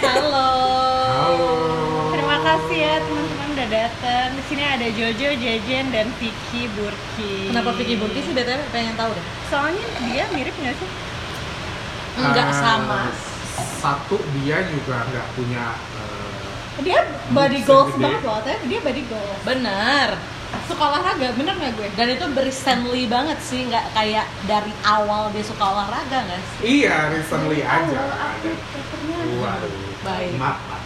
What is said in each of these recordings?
Halo. Halo. Terima kasih ya teman-teman udah datang. Di sini ada Jojo, Jejen, dan Vicky Burki. Kenapa Vicky Burki sih BTW pengen tahu deh? Soalnya dia mirip nggak sih? Enggak Ah, sama. Satu dia juga nggak punya eh, Dia body Bisa goals gede. banget loh, tapi dia body goals. Bener. Suka olahraga, bener nggak gue? Dan itu recently banget sih, nggak kayak dari awal dia suka olahraga nggak sih? iya recently aja. Halo, aku Ada- terkenal. Waduh. Baik. Mata.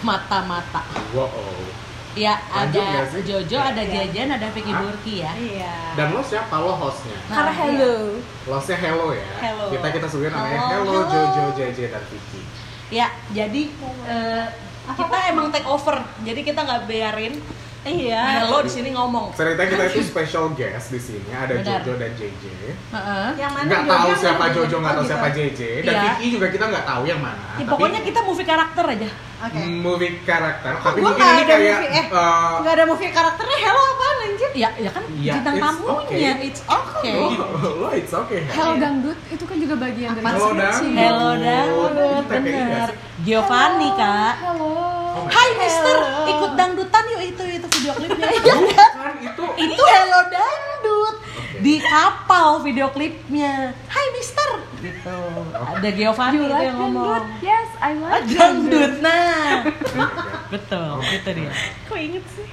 Mata-mata. Wow. Ah. Ya Lanjut nggak ada sih? Ya. Jojo, ada Iya. Jajan, ada Vicky Hah? Burki ya. Iya. Dan lo siapa lo hostnya? Karena Nah, hello. Lostnya Hello ya. Hello. Oh, Kita kita sebutnya namanya Hello. Hello, Hello. Jojo, JJ dan Vicky. Ya, jadi eh, kita emang take over. Jadi kita nggak biarin Iya. Hello di sini ngomong. Cerita kita itu special guest di sini ada Benar. Jojo dan JJ. Heeh. Yang mana Nggak Jojo, tahu yang siapa mana Jojo, nggak Oh, tahu gitu. siapa JJ dan Iya. Vicky juga kita nggak tahu yang mana. Ya, Tapi pokoknya kita movie karakter aja. Oke. movie karakter. Tapi gua mungkin nggak ini ada kayak movie, eh. eh, Nggak ada movie karakternya, hello apaan anjir? Ya, ya kan Ya, bintang it's tamunya, okay. it's okay. Oh, lo it's okay. Hello Dangdut itu kan juga bagian dari Apa Hello, skripsi. Dangdut. Hello Oh, dangdut, ini TPI bener. nggak Giovanni kak. Hello. Oh my Hai God. Mister, Hello. ikut dangdutan yuk itu itu video klipnya. Iya, kan? Bukan kan itu. itu Hello Dangdut Oke. di kapal video klipnya. Hai Mister, gitu. Ada Giovanni You tuh like yang ngomong. Dangdut? Yes, I Ah, Oh, like dangdut, nah. Betul, Oh. gitu dia. Kok inget sih?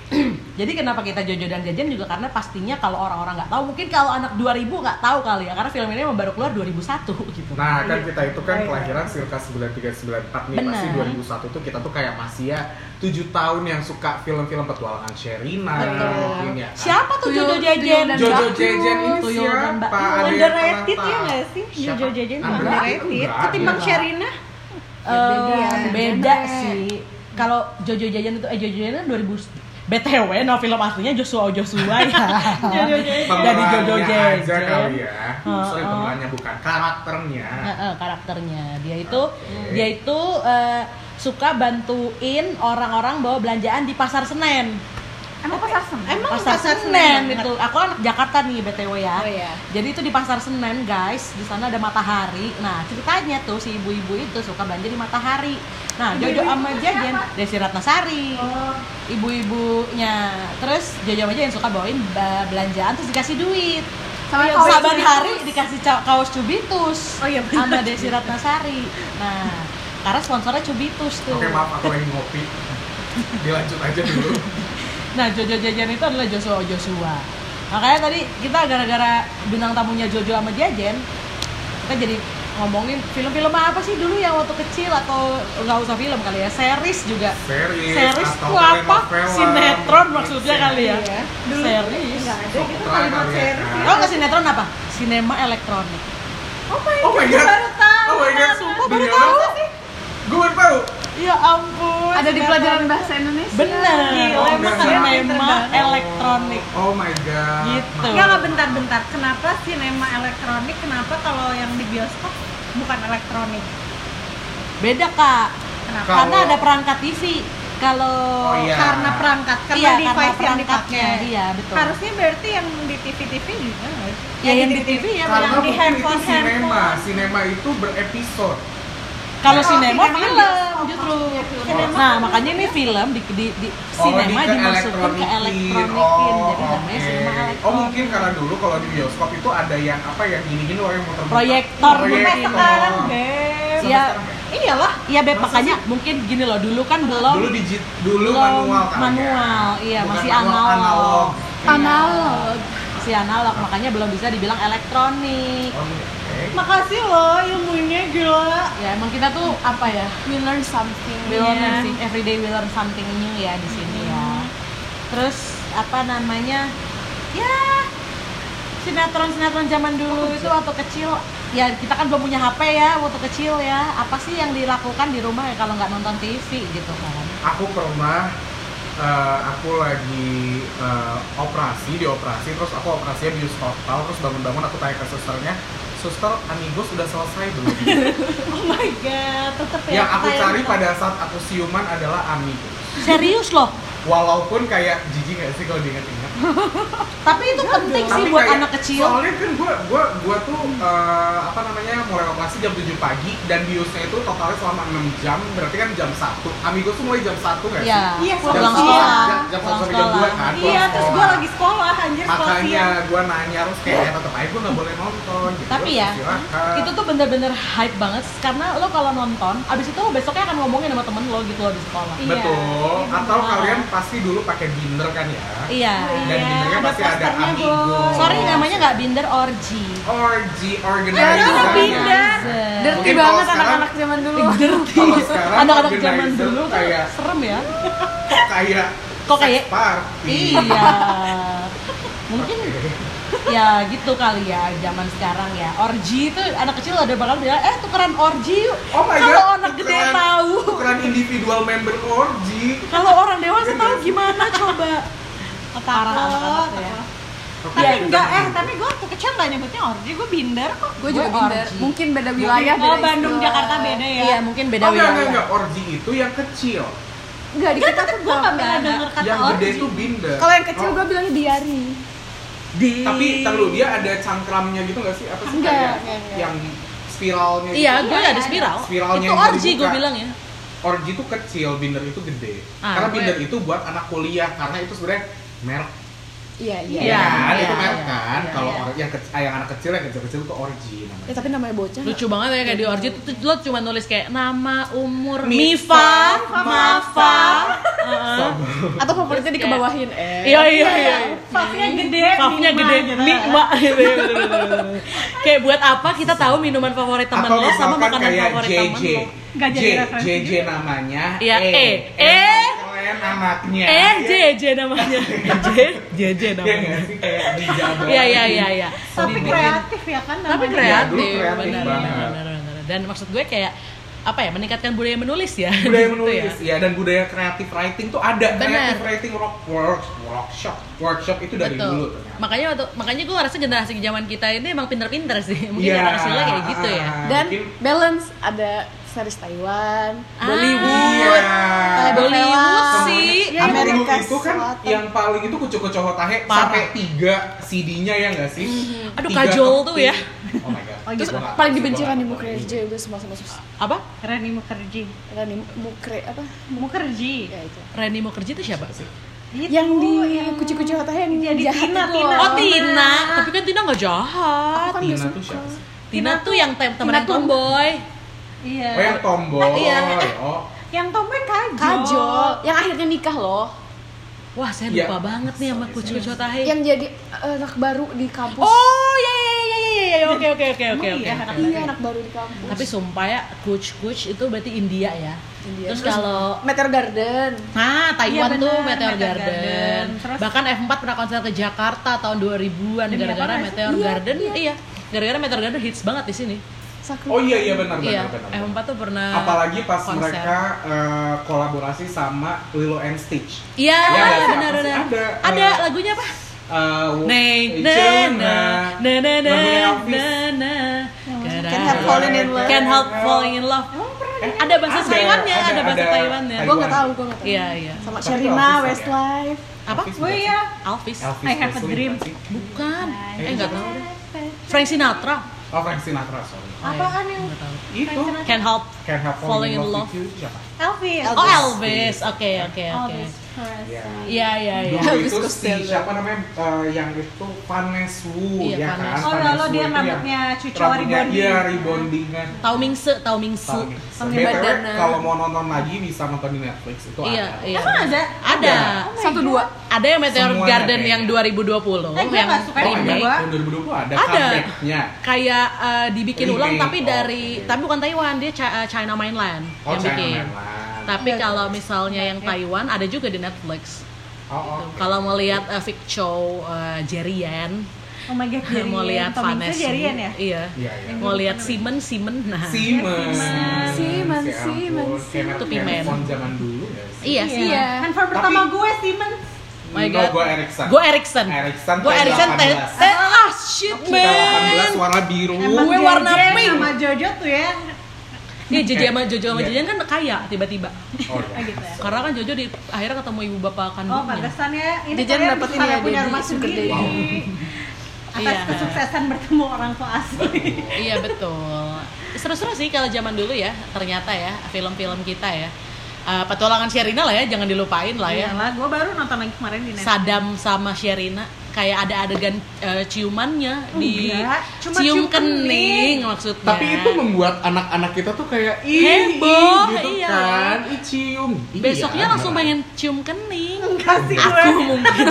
Jadi kenapa kita Jojo dan Jajan juga karena pastinya kalau orang-orang nggak tahu, mungkin kalau anak 2000 nggak tahu kali ya, karena film ini emang baru keluar 2001 gitu. Nah, kan kita itu kan kelahiran circa 9394 nih, Benar. pasti 2001 tuh kita tuh kayak masih ya 7 tahun yang suka film-film petualangan Sherina Betul. mungkin ya. kan. Siapa tuh Jojo Tuyul- Jajan? Tuyul dan Jojo Mbak Jejen ini Tuyul dan Mbak siapa? Tuyul. Ada yang underrated ya pernah tahu? nggak sih? Jojo Siapa? Jajan tuh Enggak, underrated. enggak, Ketimbang enggak. Sherina. Eh, Beda. beda Beda. sih. Kalau Jojo Jajan itu eh Jojo Jajan 2000 BTW, no nah film aslinya Joshua Joshua ya. Jojo Jajan. Dari Jojo Pemerannya Jajan. aja kali ya. Heeh. Sorry, pemerannya bukan karakternya. Heeh, karakternya. Dia itu Oke. dia itu eh, suka bantuin orang-orang bawa belanjaan di Pasar Senen. Emang pasar Senen? Emang Pasar, Pasar Senen, Senen itu. Aku anak Jakarta nih BTW Oh, ya. iya. Jadi itu di Pasar Senen, guys. Di sana ada Matahari. Nah, ceritanya tuh si ibu-ibu itu suka belanja di Matahari. Nah, Jojo sama Jajan Desi Ratnasari. Oh. Ibu-ibunya. Terus Jojo sama Jajan suka bawain ba- belanjaan terus dikasih duit. Sama Iya, Yang kaos Saban cubitus. hari dikasih ca- kaos cubitus Oh iya, bener. sama Desi Ratnasari. Nah, karena sponsornya cubitus tuh. Oke, maaf aku lagi ngopi. Dilanjut aja dulu. Nah, Jojo Jajan itu adalah Joshua Joshua. Makanya tadi kita gara-gara bintang tamunya Jojo sama Jajan, kita jadi ngomongin film-film apa sih dulu yang waktu kecil atau nggak usah film kali ya, series juga. Series, Series atau tuh apa? telenovela. Sinetron maksudnya kali ya. Iya. Dulu Series. nggak ada gitu Sopra kalimat kali ya, series. kan? Tahu nggak sinetron apa? Sinema elektronik. Oh my Oh my god. baru tahu. Oh my god. Sumpah, baru Demi tahu. Allah. Gue baru tahu. Ya ampun. Ada di sinetron. pelajaran bahasa Indonesia. Bener. Gila, emang kalian Iya, sinema pinter banget. elektronik. Oh my god. Nah. Gitu. Enggak, enggak bentar-bentar. Kenapa sinema elektronik? Kenapa kalau yang di bioskop bukan elektronik? Beda kak. Kenapa? Kalau- Karena ada perangkat TV. Kalau Oh, iya. Karena perangkat, karena Iya, karena device yang perangkatnya. dipakai. Iya, betul. Harusnya berarti yang di TV-TV juga gitu, nggak sih? Ya, yang di TV ya, Karena yang di mungkin handphone, itu sinema, handphone. sinema itu berepisode. Kalau Oh, sinema sinema film bioskop, justru. maksudnya kan film. Nah, makanya ini film di di, Oh, di sinema di dimasukin ke elektronikin. Oh, jadi namanya oke. sinema Oh elektronik. mungkin karena dulu kalau di bioskop itu ada yang apa yang gini-gini loh yang muter Proyektor. Oh, iya, Sampai Proyektor. sekarang, Beb. Iya. Iyalah. Iya, Beb, Masa makanya mungkin gini loh, dulu kan belum Dulu digit, dulu belum manual kan. manual, ya? iya, Bukan masih manual, analog. analog. Iya. Analog. si analog, makanya belum bisa dibilang elektronik. Oh, oke. Makasih loh ilmunya gila. Iya. Ya, emang kita tuh apa ya? We learn something. We learn something, every day we learn something new ya di sini ya. Hmm. Terus apa namanya? Ya sinetron-sinetron zaman dulu itu waktu kecil ya kita kan belum punya HP ya waktu kecil ya. Apa sih yang dilakukan di rumah ya kalau nggak nonton TV gitu kan? aku pernah eh, aku lagi eh, operasi di operasi terus aku operasinya bius total terus bangun-bangun aku tanya ke susternya suster amigos sudah selesai belum Iya, Oh my god, tetep ya. yang aku sayang cari gitu. tetep. pada saat aku siuman adalah amigos Serius loh. walaupun kayak jijik gak sih kalau diinget-inget Tapi itu penting sih Iya Tapi buat kayak- anak kecil. soalnya kan gue gua gua tuh eh, apa namanya mulai beroperasi jam 7 pagi dan biusnya itu totalnya selama 6 jam berarti kan jam 1 Amigos tuh mulai jam 1 nggak Iya, sih? Iya, Jam pulang iya. sekolah. jam, jam pulang 1 sampai jam 2 kan pulang Iya, terus sekolah. gue lagi sekolah, anjir sekolah Iya, Makanya siang. gue nanya terus kayak tetap aja gue nggak boleh nonton gitu. Tapi ya, silakan. itu tuh bener-bener hype banget karena lo kalau nonton abis itu lo besoknya akan ngomongin sama temen lo gitu abis sekolah Iya, Betul. iya, Atau bener. kalian pasti dulu pakai binder kan ya? iya Dan Iya, dinnernya ada pasti ada posternya, amigo. Bos. sorry namanya nggak binder orgy Iya, Orgy Ya, organizer. udah pindah. Organizer. Dirty Mungkin kalau banget sekarang- anak-anak zaman dulu. dirty Kalau sekarang anak-anak zaman organizer dulu tuh kan kayak- serem ya Kok kayak Kok kayak- sex party. iya mungkin ya gitu kali ya zaman sekarang ya orgy itu anak kecil ada bakal bilang eh tukeran orgy yuk Oh my god. kalau anak gede tukeran- tahu Tukeran individual member orgy. kalau orang dewasa tahu gimana coba parah anak-anak ya Iya, Tapi enggak eh, tapi gue waktu kecil nggak nyebutnya orgy, gue binder kok. Gue juga Gua pindah. orgy. Mungkin beda wilayah. Oh, beda Bandung istilah. Jakarta beda ya. iya mungkin beda Oh enggak, enggak, wilayah. enggak. Orgy itu yang kecil. Enggak, di Enggak, kita tapi tuh gue nggak nggak pernah ada. denger kata yang gede orgy. itu binder. Kalau yang kecil Oh, gue bilang diari. di tapi tar dulu, dia ada cangkramnya gitu nggak sih? Apa sih Enggak, kayak enggak, enggak. yang spiralnya gitu? Iya, gue ada spiral. Spiralnya itu yang orgy dibuka. gue bilang ya. Orgy itu kecil, binder itu gede. Ah, karena gue- binder itu buat anak kuliah, karena itu sebenarnya merek Iya, iya. Iya, kan, iya, itu merek iya, kan. iya, Kalau iya. orang yang kecil, yang anak kecil yang kecil-kecil itu orgy Ya, namanya. tapi namanya bocah. Lucu banget ya kayak di orgy tuh lo cuma nulis kayak nama, umur, Mifa, Mifa, Mafa. Heeh. Atau favoritnya dikebawahin eh. Iya iya iya. Puffnya gede, Puffnya Mima, gede, gitu. mi mak. Kayak buat apa kita tahu minuman favorit teman Atau lo sama misalkan makanan kayak favorit teman JJ. lo. Nggak J, jadi referensi JJ juga. namanya. Iya, E. E. Kalian anaknya. Eh Iya. JJ namanya. JJ JJ Iya nggak namanya. sih kayak di Jabar. Iya iya iya iya. Tapi kreatif ya kan namanya. tapi kreatif, kreatif, Iya, Iya, kreatif benar, banget. benar, benar, benar. dan maksud gue kayak apa ya meningkatkan budaya menulis ya budaya Gitu menulis ya. ya. dan budaya kreatif writing tuh ada Benar. kreatif writing rock work, workshop workshop itu dari betul dulu ternyata makanya waktu, makanya gue ngerasa generasi zaman kita ini emang pinter-pinter sih mungkin Iya, anak kecilnya kayak gitu ya ah, Dan mungkin- balance ada series Taiwan, Ah. Bollywood, Iya. Bollywood telenovela. sih Yang Iya, dulu Amerika itu kan Selatan. yang paling itu kucu kucu tahe Parah. sampai tiga CD-nya ya nggak sih? Aduh, Tiga kajol keping. tuh ya. Oh my god. Gua Terus nggak gitu. paling tahu sih, dibenci gua Rani nggak tahu. Mukherjee juga semua sama sus. apa Rani Mukerji. Rani Mukre apa? Mukerji. Gitu, Ya itu. Reni mau kerja itu siapa Iya, Yang di iya. kucu-kucu kata yang jadi jahat Tina, itu Tina. loh. oh Tina tapi kan Tina nggak jahat Kan Tina gak tuh siapa sih? Tina, Tina tuh yang tem- temennya tuh- tomboy Iya. Oh yang tombol. Iya. Oh. Yang tomboy Kajo. Kajol, yang akhirnya nikah loh. wah saya Iya. lupa banget nih sama Sorry, kucu sorry. cotahe Yang jadi eh, anak baru di kampus. Iya. oh ya ya ya ya ya ya oke oke oke oke Emang oke iya, oke. iya anak baru di kampus. Tapi sumpah ya, Kuch Kuch itu berarti India ya. India. Iya, Terus kalau Meteor Garden. Nah, Taiwan Iya, benar, tuh Meteor Meteor Garden. Garden. Terus- Bahkan F4 pernah konser ke Jakarta tahun 2000-an Demi gara-gara apa, Mas? Meteor Garden. Iya. Gara-gara Meteor Garden hits banget di sini. Sakura. Oh iya iya benar Iya. benar benar. F4 tuh pernah Apalagi pas konser. mereka eh, kolaborasi sama Lilo and Stitch. Iya, Iya, nggak sih? benar Apa sih? benar. Ada, Ada eh, lagunya apa? Uh, Neng, neng, neng, neng, neng, neng, neng. Can't help falling in love. Can't help falling in love. Eh, Ada bahasa Taiwannya, ada bahasa Taiwannya. Gue nggak tahu, gue nggak tahu. Iya, iya. Sama Tapi Sherina, Elvis ada. Westlife. Apa? Oh iya. Alvis. Elvis I have a Presley, dream. bukan sih? Bukan. Eh Eh, nggak tahu deh. Frank Sinatra. Oh Frank Sinatra sorry. Apaan yang Nggak tahu. Itu Can't help. Can't Help Falling in Love itu siapa? Elvis. Oh Elvis. Oke oke oke. Elvis. Presley. Iya. Iya iya iya. Dulu Elvis itu si Costello. siapa namanya eh, yang itu Vanes Wu Iya, ya Vanes. kan? Oh, Vanes lalu Wu dia itu rambutnya yang- cucur rambutnya rebonding. Iya rebondingan. Tau Mingse, Tau Mingse. Sama Pakai BTW bandana. kalau mau nonton lagi bisa nonton di Netflix itu Iya ada. iya. Emang kan ada? Ada. Satu dua. Ada yang Meteor Semuanya Garden kayaknya. yang 2020 Eh, gua yang nggak suka Oh, yang ada kedua. remake. tahun 2020 ada, Ada. comeback-nya. Kayak eh, dibikin ulang Remake, tapi oh, dari oke. tapi bukan Taiwan, dia Chi- eh, China mainland Oh, yang China bikin. Mainland. Tapi kalau misalnya yang Taiwan ada juga di Netflix. Oh, oh. gitu. Kalau mau lihat eh, Vic Chow, eh, Jerry Yan, Oh my god, Jerry. Iya, mau lihat Tom Hanks Vanessa, Jerry ya? iya, Iya, iya. mau lihat Simon, Simon, nah, Siemens. Siemens. Siemens, Ya ampun, Siemens, kayak Itu merek Pimen. handphone zaman dulu ya sih. iya sih. Iya. Handphone Kan pertama Tapi- gue Siemens. My No, God. gue Ericsson. Gue Erickson. Erickson Gue Erickson T. T18. T- Ah shit Kita 18 man. warna biru. Emang Gue warna Jejen pink. sama Jojo tuh ya. Iya Jojo sama Jojo sama Iya. Jajan kan kaya tiba-tiba. Oh, iya. Oh gitu ya. Karena kan Jojo di akhirnya ketemu ibu bapak kan Oh, kandungnya. pantesan ya. Ini Jejen kalian dapetin pada ya, punya jadi rumah sugar sendiri. daddy. Atas Iya. kesuksesan bertemu orang tua asli. iya betul. seru-seru sih kalau zaman dulu ya ternyata ya film-film kita ya. Eh, petualangan Sherina lah ya, jangan dilupain lah ya. Iyalah, gue baru nonton lagi kemarin di Netflix. Sadam sama Sherina kayak ada adegan eh, ciumannya di Enggak, cuma cium cium, kening. kening maksudnya. Tapi itu membuat anak-anak kita tuh kayak ih Ya. Heboh, gitu iya. kan, ih cium. Iya, besoknya langsung beneran. pengen cium kening. Enggak sih gue. Aku mungkin.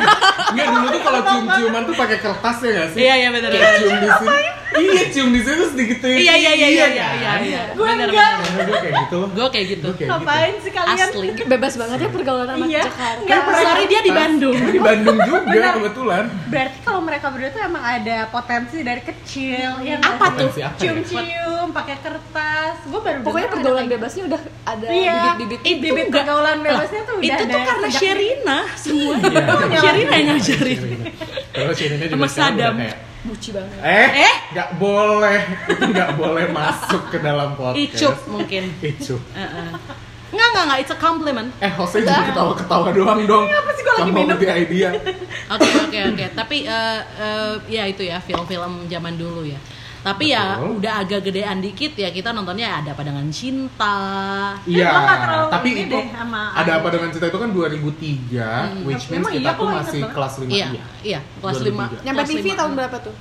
Enggak dulu tuh kalau cium-ciuman tuh pakai kertas ya nggak sih? Iya iya benar. Kayak cium di sini. Iya, cium di sini terus digituin. Iya iya iya iya iya. iya, kan? iya. Gue Bener, enggak. bener. Karena Gue kayak gitu loh. Gue kayak gitu. Gue kayak Ngapain sih kalian? Asli. Bebas banget ya pergaulan anak Iya. Jakarta. Enggak, pernah. Sorry dia di Bandung. Di Bandung juga Bener. kebetulan. Berarti kalau mereka berdua tuh emang ada potensi dari kecil yang Apa tuh? Potensi apa ya? Cium-cium, pakai kertas. Gue baru Pokoknya dengar pergaulan ada kayak- bebasnya udah ada Iya. bibit-bibit. Ih, bibit enggak. pergaulan bebasnya tuh Lah, udah Itu tuh ada karena sejak- Sherina semua. Iya. Sherina yang ngajarin. Terus Sherina juga Sama sekarang udah Sadam. kayak, Buci banget. Eh, Eh? nggak boleh, itu nggak boleh masuk ke dalam podcast. Icup mungkin. Icup. Heeh. Nggak, nggak, nggak. It's a compliment. Eh, hostnya jadi ketawa-ketawa doang dong. Iya, apa sih gua lagi Sama minum? Udi idea. Oke oke oke. Tapi eh, eh, ya itu ya film-film zaman dulu ya. Tapi ya Betul. udah agak gedean dikit ya kita nontonnya ada Padangan Cinta. Iya, gua nggak terlalu tapi ini itu deh sama ada Ayu. apa dengan cerita itu kan 2003, which means Emang iya, kita kok tuh ingat masih banget. kelas 5 Iya, iya, kelas 5. 2003. Nyampe TV tahun berapa tuh?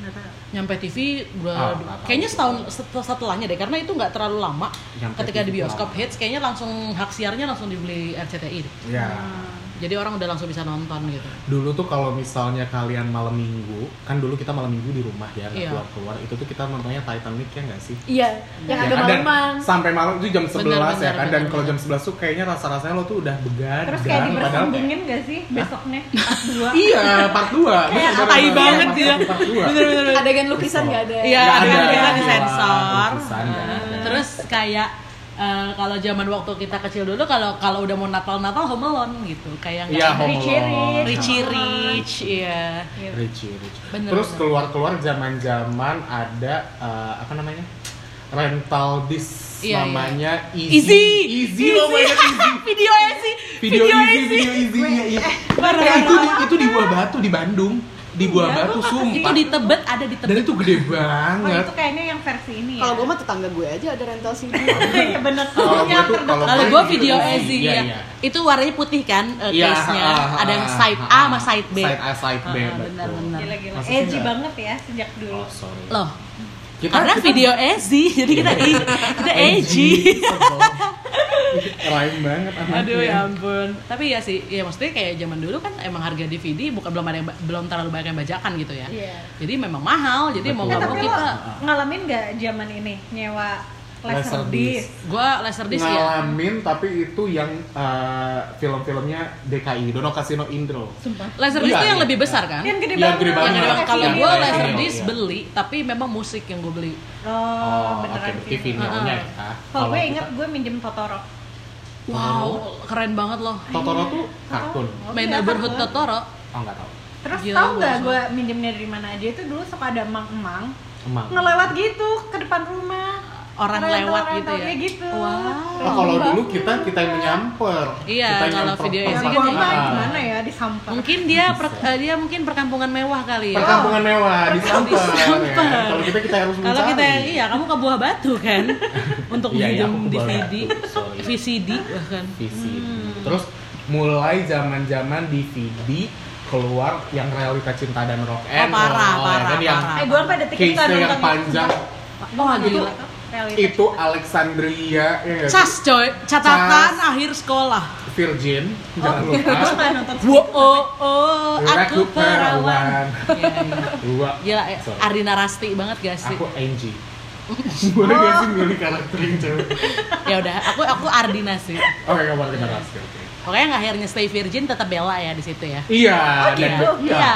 Nggak tahu. Nyampe TV udah Ah, nggak tahu. kayaknya setahun set- setelahnya deh karena itu nggak terlalu lama. Nyampe Ketika di TV bioskop lama. hits kayaknya langsung hak siarnya langsung dibeli RCTI. deh. Iya. Jadi orang udah langsung bisa nonton gitu. Dulu tuh kalau misalnya kalian malam minggu, kan dulu kita malam minggu di rumah ya, nggak Iya. keluar-keluar. Itu tuh kita nontonnya Titan Week ya nggak sih? Iya, yang Ya ada kan? Dan malaman. Sampai malam itu jam 11 benar, ya kan. Dan benar, kalau benar. jam 11 tuh kayaknya rasa-rasanya lo tuh udah begadang. Terus kayak padahal dibersenggungin gak sih besoknya pas dua? Iya, part 2. Kayak Iya, tai banget dia. Part 2. Bener-bener. Adegan lukisan nggak ada. Iya, Nggak adegan ada. ya. lukisan disensor. Lukisan nggak ada. Nah. Terus kayak eh, kalau zaman waktu kita kecil dulu kalau kalau udah mau Natal Natal Home Alone gitu kayak Iya, nggak Home Richie Alone. Rich. Richie Rich iya Iya. Richie, Richie. Bener, bener. Terus keluar-keluar zaman-zaman ada eh, apa namanya? rental disc Iya, iya. namanya Easy Easy, oh my God, Easy. video easy Video, easy, video easy, iya, iya. Eh, itu di, itu di Buah Batu di Bandung, di Buah Iya, Batu gua nggak sumpah. itu di Tebet ada di Dan Tebet itu gede Oh banget. itu kayaknya yang versi ini ya? Kalau gue mah tetangga gue aja ada rental CD. Iya bener Oh, Kalau Yang gua tuh- terdekat. kalau kalau gua gua video video easy easy, iya, ya iya. itu warnanya putih kan eh, Iya, case-nya ah, ah, ada yang ah, side ah, A sama side B Side A, side B. Ah, ah, betul. benar-benar. Gila-gila Maksudnya Edgy nggak- banget ya sejak dulu Oh, sorry. loh Kita- karena kita- Iya. video easy jadi kita e- kita edgy Rhyme banget anaknya. Aduh ya ampun. Tapi ya sih, ya maksudnya kayak zaman dulu kan emang harga DVD bukan belum ada yang, ba- belum terlalu banyak yang bajakan gitu ya. Iya Jadi memang mahal. Jadi mau Eh, Betul. nggak mau tapi lo Ah. kita, ngalamin gak zaman ini nyewa laser disc? Laserdisc. gue Laserdisc ya. ngalamin tapi itu yang eh, film-filmnya DKI Dono Kasino Indro Sumpah Laserdisc Iya, itu yang iya. lebih besar kan? Yang Oh, gede Yang banget gede Yang banget. kedua, Iya, kalau iya, gue iya, Laserdisc iya. beli, tapi memang musik yang gue beli. Oh beneran oke berarti film vinilnya ya Kalau gue kita- inget gue minjem Totoro Oh. Wow, keren banget loh. Totoro tuh kartun Oh, Main iya, Neighborhood kartun. Totoro. oh nggak tahu Terus Gila, tau gua gak langsung- gue minjemnya dari mana aja itu dulu suka ada emang-emang emang ngelewat gitu ke depan rumah Orang Rental- lewat rental gitu ya? kayak gitu Wow. Oh, kalau dulu kita kita yang menyamper Iya, kita yang kalau nyamper Ah, video Orang Iya, perkampungan. kan tua ya. mah gimana ya disampar Mungkin dia per- eh, dia mungkin perkampungan mewah kali ya. perkampungan mewah disamper, ya. Disamper. kalau kita kita harus mencari Kalau kita iya kamu ke buah batu kan untuk Iya, iya, minjem aku ke Buah DVD, Batu, sorry. VCD bahkan. VCD. Hmm. Terus mulai zaman-zaman DVD keluar yang realita cinta dan rock Oh, and parah, roll, ya parah, kan? yang parah. eh gue sampai detik itu case nonton yang itu. panjang Wah Oh, Itu gila. realitas. itu Alexandria ya nggak sih? Cas coy, catatan Cas. akhir sekolah. Virgin jangan Oh, lupa gue nggak nonton Wo oh oh Aku aku perawan. perawan Iya, iya. dua Gila, ya. Sorry. Ardina Rasti banget gak sih? Oh. aku Angie boleh gak sih milih karakter yang cewek Ya udah, aku aku Ardina sih. oke kamu kita rasa oke. Pokoknya yang akhirnya stay virgin tetap bela ya di situ ya. iya dan Iya. Iya.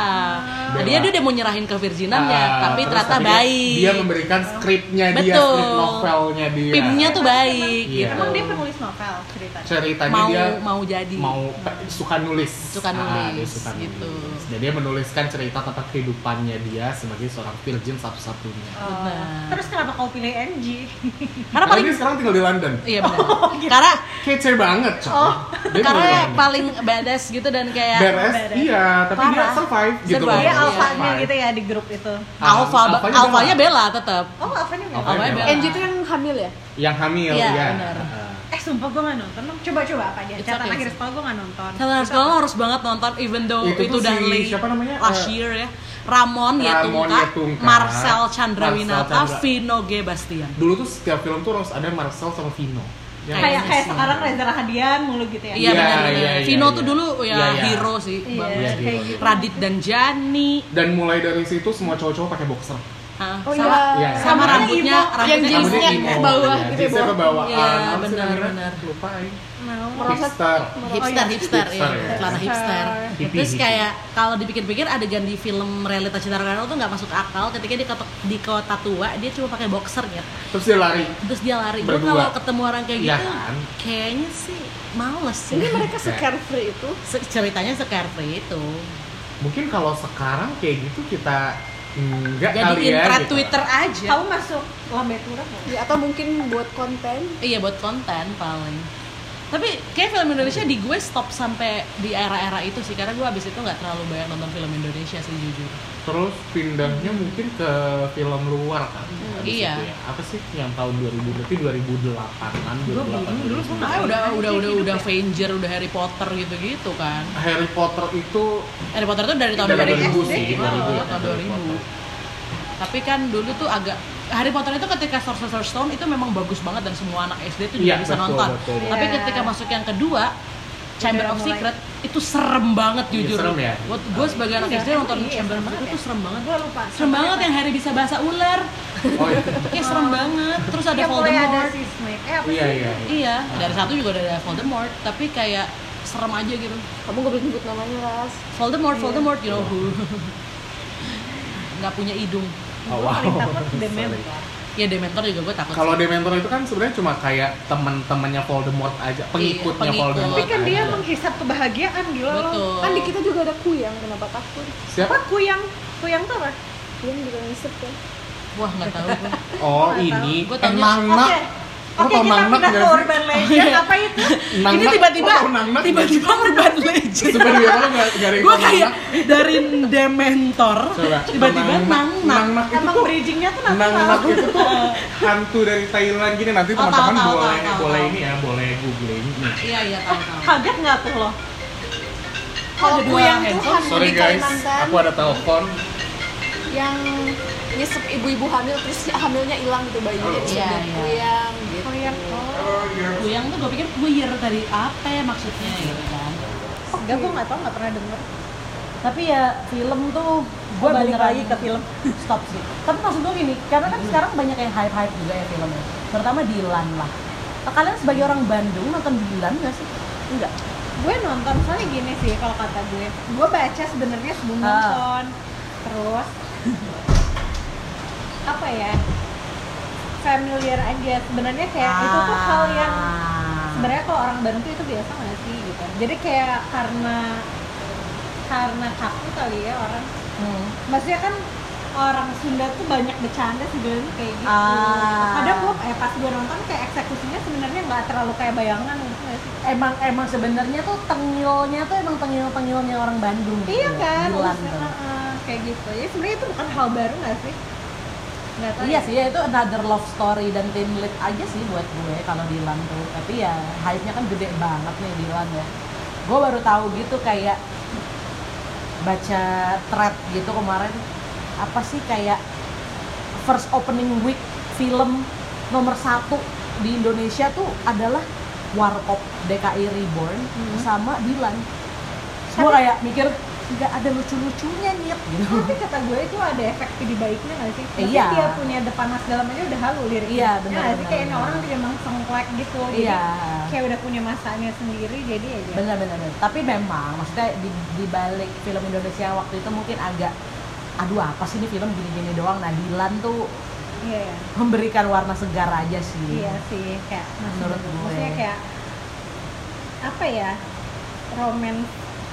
Bella. Dia dia udah mau nyerahin ke virginannya, Ah, tapi terus ternyata dia- baik. dia memberikan skripnya dia Betul. skrip novelnya dia Pimnya tuh baik Iya. gitu. emang dia penulis novel ceritanya ceritanya mau dia mau jadi mau pe- suka nulis Suka Ah, dia nulis, suka gitu. nulis. dan dia menuliskan cerita tentang kehidupannya dia sebagai seorang virgin satu-satunya Oh. Benar. terus kenapa kau mau pilih MG. Karena paling Karena dia sekarang tinggal di London. Iya benar. Karena Kece banget, Cok. oh, Dia tinggal karena di yang London. paling badass gitu dan kayak Beres, Beres. iya, tapi dia Parah. survive gitu Survive. Dia Iya. alfanya Survive. Ah, gitu ya di grup itu. alfa Alfanya alfanya Bella. Bella tetap. Oh, alfanya nggak? Alfanya Alfanya Bella. Bella. NG itu yang hamil ya? Yang hamil, Iya, ya. benar. Eh, sumpah gue nggak nonton. dong. Coba-coba apa aja? It's Catatan okay. akhir sekolah gue nggak nonton. Catatan Itu sekolah apa? lo harus banget nonton even though Itu itu, tuh udah si- late siapa namanya? last Eh, year ya. Ramon Ramon Yatungka, Yatungka, Marcel Marcel Chandra- Chandrawinata, Vino G. Bastian. Dulu tuh setiap film tuh harus ada Marcel sama Vino. Ya, Kayak Iya, kayak sih. sekarang Reza Rahadian mulu gitu ya. Iya Iya, benar iya, benar. iya, Vino iya. tuh dulu ya Iya, iya. hero sih. Iya, bagus. Iya, kayak gitu. gitu. Radit dan Jani. Dan mulai dari situ semua cowok-cowok pakai boxer. Ah, Oh sama Iya. iya. sama Rambutnya rambutnya, emo. Yang rambutnya jeans-nya Rambutnya Jeansnya emo, ke bawah ya. gitu ya, Jeansnya ke bawah. bawah. Iya, Ah, apa sih benar, namanya? benar. Lupa, ya. Mau. Merosot. hipster, Hipster. Oh, iya. hipster, iya, Hipster, ya. celana hipster. Nah, Hippie, Terus hippie. kayak kalau dipikir-pikir adegan di film realita cinta Rano tuh nggak masuk akal ketika di kota, di kota tua dia cuma pakai boxer gitu. Terus dia lari. Terus dia lari. Gue kalau Berdua. ketemu orang kayak Iya gitu, kan? kayaknya sih males sih. Jadi mereka se-carefree itu Se- ceritanya se-carefree itu. Mungkin kalau sekarang kayak gitu kita enggak Jadi kali ya. thread gitu. Twitter aja. Kamu masuk lambe turap nggak? ya, atau mungkin buat konten Iya buat konten paling. Tapi kayak film Indonesia di gue stop sampai di era-era itu sih karena gue abis itu nggak terlalu banyak nonton film Indonesia sih jujur. Terus pindahnya mungkin ke film luar kan? Habis Iya. itu ya. Apa sih yang tahun 2000 berarti 2008-an, Gua belum, dulu gua 2008 nggak- Nah, udah Aja udah udah hidup udah ya. Avenger, udah Harry Potter gitu-gitu kan. Harry Potter itu Harry Potter tuh dari tahun dari 2000 SD, sih, gitu. dari dulu ya, Iya, Oh, tahun Harry 2000. Potter. Tapi kan dulu tuh agak Harry Potter itu ketika Sorcerer's Stone itu memang bagus banget dan semua anak SD tuh juga Iya, bisa betul, nonton. betul, betul. Tapi Iya. ketika masuk yang kedua Chamber Udah of mulai. Secret itu serem banget Iya, jujur. serem ya? Gue sebagai anak Iya, SD kan? nonton Iya, serem Chamber of Secret banget itu serem banget. Gue lupa. Serem banget yang Harry bisa bahasa ular. Oh iya. Kayak serem banget. Terus ada Iya, mulai ada Voldemort. si Snape. Eh, apa Iya, sih? iya. iya. Iya, dari satu juga ada Voldemort, tapi kayak serem aja gitu. kamu gak boleh nyebut namanya Ras Iya. Voldemort, Voldemort, you know who. Nggak punya hidung. Oh, Gua wow. paling takut Sorry. Dementor. Ya Dementor juga gue takut. Kalau sih. Dementor itu kan sebenarnya cuma kayak teman-temannya Voldemort aja, pengikutnya pengikut. Voldemort. Tapi kan dia aja. menghisap kebahagiaan gila loh. Betul. kan di kita juga ada kuyang kenapa takut siapa? Apa kuyang? Kuyang tuh apa? kuyang juga ngisep ya. kan Wah nggak tahu gue. Oh, Gua nggak ini tahu. Gua taunya- Enang Oke. Nak. Lo Oke, tau kita Nang pindah ke Nak nggak sih? urban Iya. legend apa itu? Nang Ini Nak. tiba-tiba, Lo tau Nang Nak nggak sih? tiba-tiba urban legend. Sebenarnya kalau nggak nggak ada yang gue tau Nang kayak Nak. dari Dementor Coba, tiba-tiba Nang Nak. nang Nang Nak itu Emang tuh bridgingnya tuh nanti Nang Nak tahu. itu tuh hantu dari Thailand gini nanti Oh, tahu, teman-teman tahu, boleh tahu, tahu, boleh tahu. ini ya boleh googling nih. Iya iya tahu tahu. Kaget nggak tuh lo? kalau dua ya? kuyang tuh handphone. hamil Sorry di guys, Kalimantan aku ada telepon. yang nyesep ibu-ibu hamil terus hamilnya hilang gitu bayinya Oh. oh, Iya, iya. kuyang ya. gitu Kuyang oh. Kuyang tuh gue pikir kuyer dari apa ya maksudnya gitu kan. Oh, Enggak, gue nggak tau, nggak pernah denger Tapi ya film tuh gue Oh, balik beneran. lagi ke film stop sih tapi maksud gue gini karena kan sekarang banyak yang hype hype juga ya filmnya terutama Dilan lah kalian sebagai orang Bandung nonton Dilan nggak sih enggak gue nonton soalnya gini sih kalau kata gue gue baca sebenarnya sebelum Ah. nonton terus apa ya familiar aja sebenarnya kayak itu tuh Ah. hal yang sebenarnya kalau orang Bandung tuh itu biasa nggak sih gitu jadi kayak karena karena kaku kali ya orang Hmm. maksudnya kan orang Sunda tuh banyak bercanda sebenarnya kayak gitu Ah. kadang gue eh, pas gue nonton kayak eksekusinya sebenarnya nggak terlalu kayak bayangan gitu nggak sih emang emang sebenarnya tuh tengilnya tuh emang tengil tengilnya orang Bandung Iya gitu. kan, Dilan maksudnya, tuh. heeh, kayak gitu. Ya sebenarnya itu bukan hal baru nggak sih? Nggak tahu. Iya ya. sih, ya itu another love story dan tim lead aja sih buat gue kalau Dilan tuh. Tapi ya hype-nya kan gede banget nih Dilan ya. Gue baru tahu gitu kayak baca thread gitu kemarin apa sih kayak first opening week film nomor satu di Indonesia tuh adalah Warkop DKI Reborn Hmm. sama Dilan. Gue kayak mikir nggak ada lucu-lucunya nyet gitu. Tapi kan kata gue itu ada efek di baiknya nggak sih? Iya. Maksudnya dia punya depan mas dalam aja udah halu liriknya. Iya, Ya benar, nggak sih benar, kayak ini benar. orang tuh emang sengklek gitu. Jadi Iya. Kayak udah punya masanya sendiri jadi ya aja. benar benar benar. tapi memang maksudnya di, di balik film Indonesia yang waktu itu mungkin agak aduh apa sih ini film gini-gini doang nah Dilan tuh Iya. iya. memberikan warna segar aja sih Iya sih kayak maksud Hmm, Menurut gue. gue. Maksudnya kayak apa ya? Roman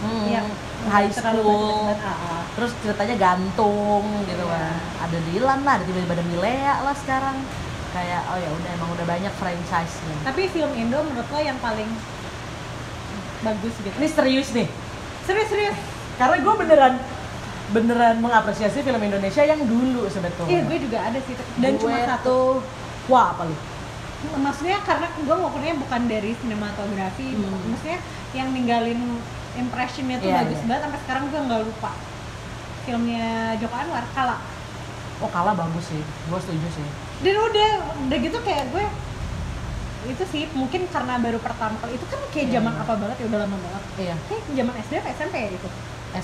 Hmm. yang high Terlalu school banyak banget, ah, ah. terus ceritanya gantung gitu Iya. kan ada Dylan lah ada tiba-tiba ada Milea lah sekarang kayak oh ya udah emang udah banyak franchise-nya Tapi film Indo menurut lo yang paling bagus gitu? ini serius nih Serius serius? karena gue beneran beneran mengapresiasi film Indonesia yang dulu sebetulnya Iya gue juga ada sih dan cuma Gue satu. tuh, wah apa lu Maksudnya karena gue ngukurnya bukan dari sinematografi, Hmm. maksudnya yang ninggalin impressionnya tuh Iya, bagus iya. banget sampai sekarang gue nggak lupa filmnya Joko Anwar kalah oh kalah bagus sih gue setuju sih dan udah udah gitu kayak gue itu sih mungkin karena baru pertama kali itu kan kayak Iya. zaman apa banget ya udah lama banget iya kayak zaman SD apa SMP ya itu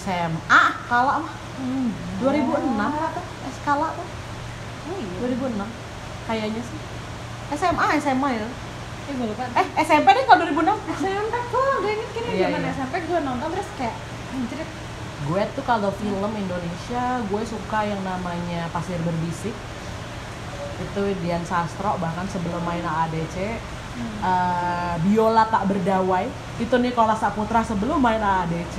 SMA kalah mah Hmm. 2006 apa es kalah tuh oh iya 2006 kayaknya sih SMA SMA ya eh gue lupa eh SMP deh kalau 2006 SMP kok gue inget kini Iya, zaman iya. SMP gue nonton terus kayak anjir gue tuh kalau film Indonesia gue suka yang namanya Pasir Berbisik itu Dian Sastro bahkan sebelum main AADC eh, Biola tak berdawai itu Nicholas Saputra sebelum main AADC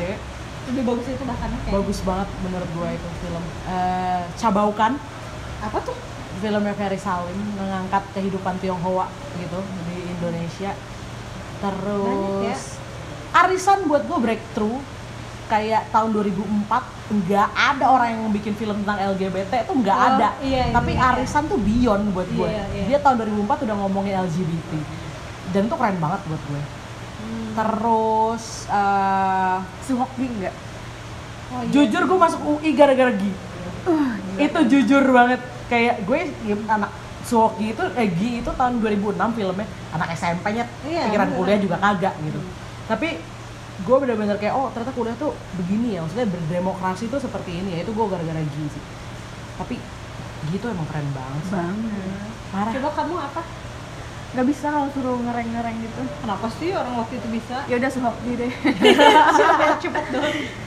lebih bagus itu bahkan kayak bagus banget menurut gue itu film Eh, Cabaukan apa tuh filmnya Ferry Salim mengangkat kehidupan Tionghoa gitu di Indonesia Banyak ya. terus Arisan buat gue breakthrough kayak tahun 2004 nggak ada orang yang bikin film tentang LGBT tuh nggak Oh, ada iya, iya, tapi iya. Arisan tuh beyond buat gue Iya, iya. dia tahun 2004 udah ngomongin LGBT dan itu keren banget buat gue Hmm. terus eh, si Hokbi nggak oh, iya. jujur gue masuk UI gara-gara Gi Oh, Uh, itu jujur banget kayak gue ya, anak Suwoki itu eh, Gi itu tahun 2006 filmnya anak SMP-nya Iya, pikiran bener. kuliah juga kagak gitu tapi gue bener-bener kayak oh ternyata kuliah tuh begini ya maksudnya berdemokrasi tuh seperti ini ya itu gue gara-gara Gi sih tapi Gi itu emang keren banget sih. banget parah coba kamu apa nggak bisa kalau suruh ngereng-ngereng gitu kenapa sih orang waktu itu bisa ya udah suhoki deh cepet dong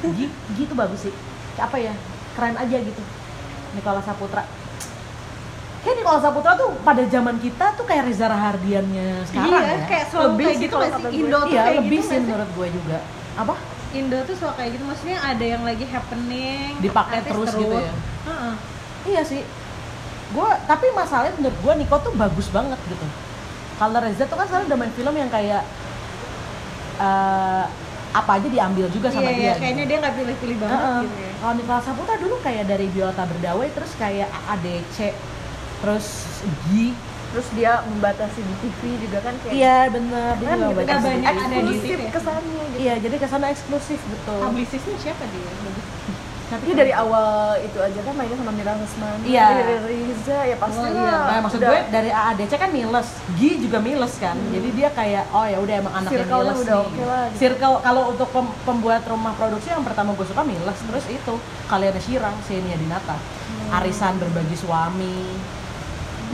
Gi, Gi itu bagus sih Kayak apa ya keren aja gitu Nicholas Saputra kayak Nicholas Saputra tuh pada zaman kita tuh kayak Reza Rahardiannya sekarang Iya, ya kayak selalu lebih kayak sih gitu kalau masih kata gue. Indo tuh iya, kayak lebih gitu sih masih. menurut gue juga apa Indo tuh suka kayak gitu maksudnya ada yang lagi happening Dipakai artis terus gitu ya? Heeh. iya sih gue tapi masalahnya menurut gue Niko tuh bagus banget gitu kalau Reza tuh kan sekarang udah main film yang kayak eh, apa aja diambil juga sama iya, dia iya, gitu. kayaknya dia nggak pilih-pilih banget Heeh. gitu ya Kalau Nicola Saputra dulu kayak dari Biota Berdawai terus kayak ADC terus Gi. terus dia membatasi di TV juga kan kayak Iya bener dia Kan juga gitu, baca nggak sendiri. banyak ada di eksklusif TV. kesannya gitu Iya jadi kesana eksklusif betul. publisisnya siapa dia bagus Tapi dia dari awal itu aja kan mainnya sama Mira Lesmana Iya. dari Riza ya pasti Oh, lah. iya. Nah, maksud Udah Hmm. gue dari AADC kan miles, Gi juga miles kan. Jadi dia kayak oh ya udah emang anaknya Circle-nya miles udah nih. oke lah, gitu. Circle kalau untuk pem- pembuat rumah produksi yang pertama gue suka miles, Hmm. terus itu kalian Syirang, Xenia Dinata. Arisan berbagi suami.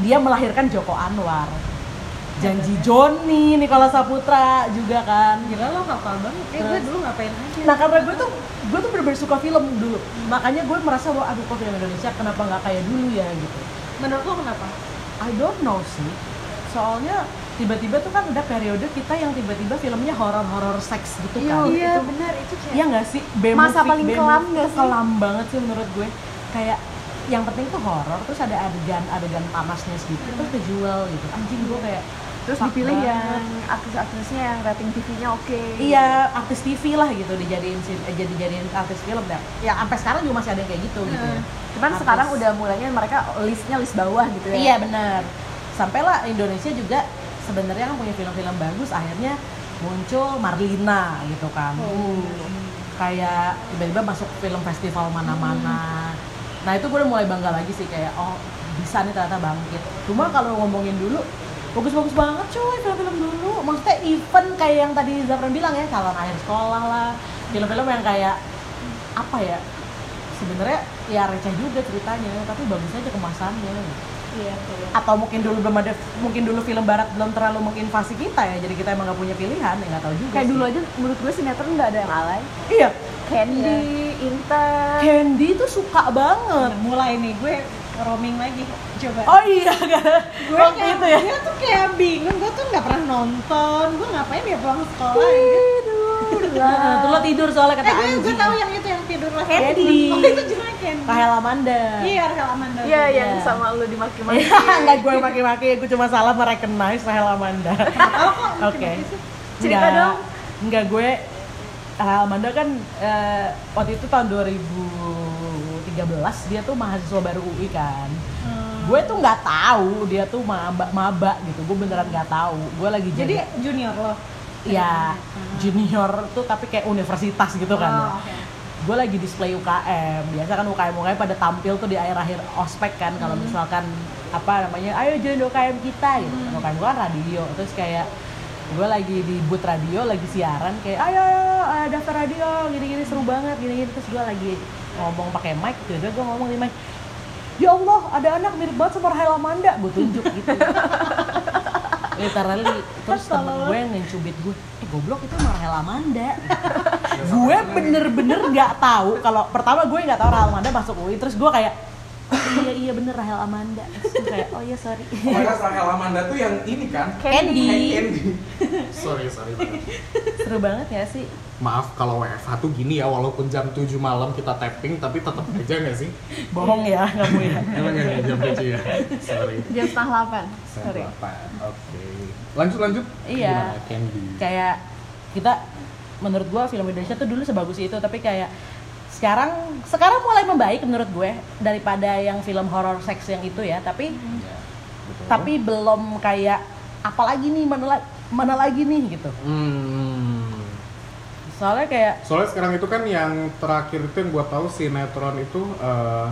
Dia melahirkan Joko Anwar. Janji Joni, Nicola Saputra juga kan. gila lo hafal banget Iya, eh gue Terus. dulu ngapain aja Nah karena gue tuh gue tuh bener-bener suka film dulu, makanya gue merasa bahwa aduh kok film Indonesia kenapa nggak kayak dulu ya gitu. menurut lo kenapa I don't know sih. Soalnya tiba-tiba tuh kan udah periode kita yang tiba-tiba filmnya horor-horor seks gitu Iya, kan. iya Itu. benar itu kayak Iya nggak sih? B Masa movie- paling B kelam movie nggak tuh sih? Kelam banget sih menurut gue. Kayak yang penting tuh horor terus ada adegan adegan panasnya sedikit terus kejual gitu. Anjing gue kayak terus fuck dipilih ya. banget. yang aktris-aktrisnya yang rating TV-nya oke Iya, artis TV lah gitu dijadiin sin- eh, jadi jadiin artis film ya. Ya sampai sekarang juga masih ada yang kayak gitu gitu ya. cuman Artis. sekarang udah mulainya mereka listnya list bawah gitu ya Iya benar. Sampailah Indonesia juga sebenarnya kan punya film-film bagus akhirnya muncul Marlina gitu kan. Oh. Kayak tiba-tiba masuk film festival mana-mana. Hmm. Nah itu gue udah mulai bangga lagi sih kayak oh bisa nih ternyata bangkit. Cuma kalau ngomongin dulu bagus-bagus banget cuy film-film dulu. Maksudnya event kayak yang tadi Zafran bilang ya calon akhir sekolah lah. Film-film yang kayak apa ya sebenarnya ya receh juga ceritanya tapi bagus aja kemasannya gitu iya iya atau mungkin dulu belum ada mungkin dulu film barat belum terlalu menginvasi kita ya jadi kita emang nggak punya pilihan ya nggak tahu juga kayak sih. dulu aja menurut gue sinetron nggak ada yang ya. alay iya Candy Intan Candy tuh suka banget Nah, mulai nih gue roaming lagi coba Oh iya, gue waktu kayak, itu ya. gue tuh kayak bingung gue tuh nggak pernah nonton gue ngapain ya pulang sekolah gitu. Nah, Tuh lo tidur soalnya kata eh gue gue anjing. tahu yang itu yang tidur lah Candy. oh itu juga Candy Rahel Amanda. iya Rahel Amanda Iya, yang Iya. sama lu dimaki-maki. Iya, enggak gue maki-maki, gue cuma salah merecognize Rahel Amanda. oh kok Oke. kenapa sih? Cerita Enggak. dong. Enggak gue Rahel Amanda kan eh, waktu itu tahun 2013 dia tuh mahasiswa baru UI kan. Hmm. Gue tuh nggak tahu dia tuh maba maba gitu. Gue beneran nggak tahu. Gue lagi jadi junior lo ya junior tuh tapi kayak universitas gitu kan. ya. oh, oke. gue lagi display UKM biasa kan UKM UKM pada tampil tuh di akhir-akhir ospek kan kalau misalkan apa namanya ayo join UKM kita gitu kan UKM gue kan radio terus kayak gue lagi di booth radio lagi siaran kayak ayo, ayo, ayo daftar radio gini-gini seru banget gini-gini terus gue lagi ngomong pakai mic gitu gue ngomong di mic ya Allah ada anak mirip banget sama Rahel Amanda gue tunjuk gitu literally terus temen gue ngecubit gue eh goblok itu sama Rahel Amanda gue bener-bener nggak tahu kalau pertama gue nggak tahu Rahel Amanda masuk UI terus gue kayak "Oh iya iya bener Rahel Amanda terus gue kayak oh iya sorry Padahal Rahel Amanda tuh yang ini kan? Candy Candy. sorry, sorry banget. seru banget ya sih Maaf kalau WFH tuh gini ya, walaupun jam 7 malam kita tapping, tapi tetap aja nggak sih? bohong ya kamu ya Iya, Emang nggak jam 7 ya? Sorry. Jam setengah delapan. Sorry. Saya apa? Oke. Lanjut lanjut. Iya. Gimana Candy? kayak kita menurut gue film Indonesia tuh dulu sebagus itu tapi kayak sekarang sekarang mulai membaik menurut gue daripada yang film horor seks yang itu ya tapi Iya, betul. tapi belum kayak apalagi nih mana la- mana lagi nih gitu Hmm. soalnya kayak Soalnya sekarang itu kan yang terakhir itu yang gua tahu sinetron itu eh,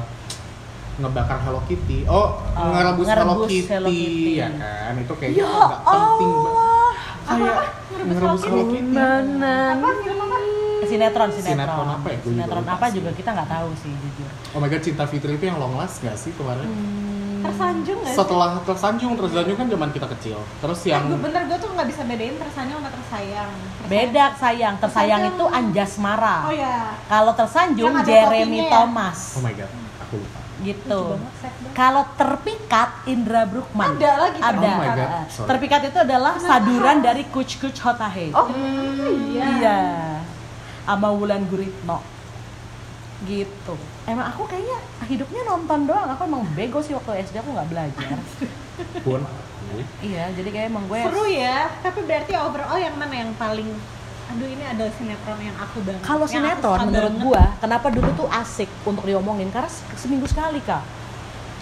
ngebakar Hello Kitty. Oh, Oh, ngerebus, Hello, ngerebus Kitty, Hello Kitty. ya kan? Itu kayaknya ya nggak penting banget. Allah Kayak ngerebus Hello Kitty. apa film apa sinetron sinetron Sinetron apa ya? Gua juga sinetron lupa apa sih. juga kita nggak tahu sih jujur Oh my god, Cinta Fitri itu yang long last nggak sih kemarin? Hmm. tersanjung nggak sih Setelah tersanjung, tersanjung kan zaman kita kecil. Terus yang... yang gue Eh, bener gue tuh nggak bisa bedain tersanjung sama tersayang Tersayang- beda sayang tersayang itu Anjasmara iya. oh ya kalau tersanjung Yang ada Jeremy topinya ya? Thomas Oh my god, aku lupa. gitu Set banget. Kalau terpikat Indra Brukman. Ada lagi Ada. Oh my God, Eh, sorry. Terpikat itu adalah saduran dari Kuch Kuch Hotahe. Oh, iya Iya. Sama Wulan Guritno. Gitu. Emang aku kayaknya hidupnya nonton doang. Aku emang bego sih waktu SD aku nggak belajar. Pun aku. iya, jadi kayak emang gue seru ya tapi berarti overall yang mana yang paling aduh ini ada sinetron yang aku banget kalau yang aku suka sinetron menurut banget. gua kenapa dulu tuh asik untuk diomongin karena se- seminggu sekali kak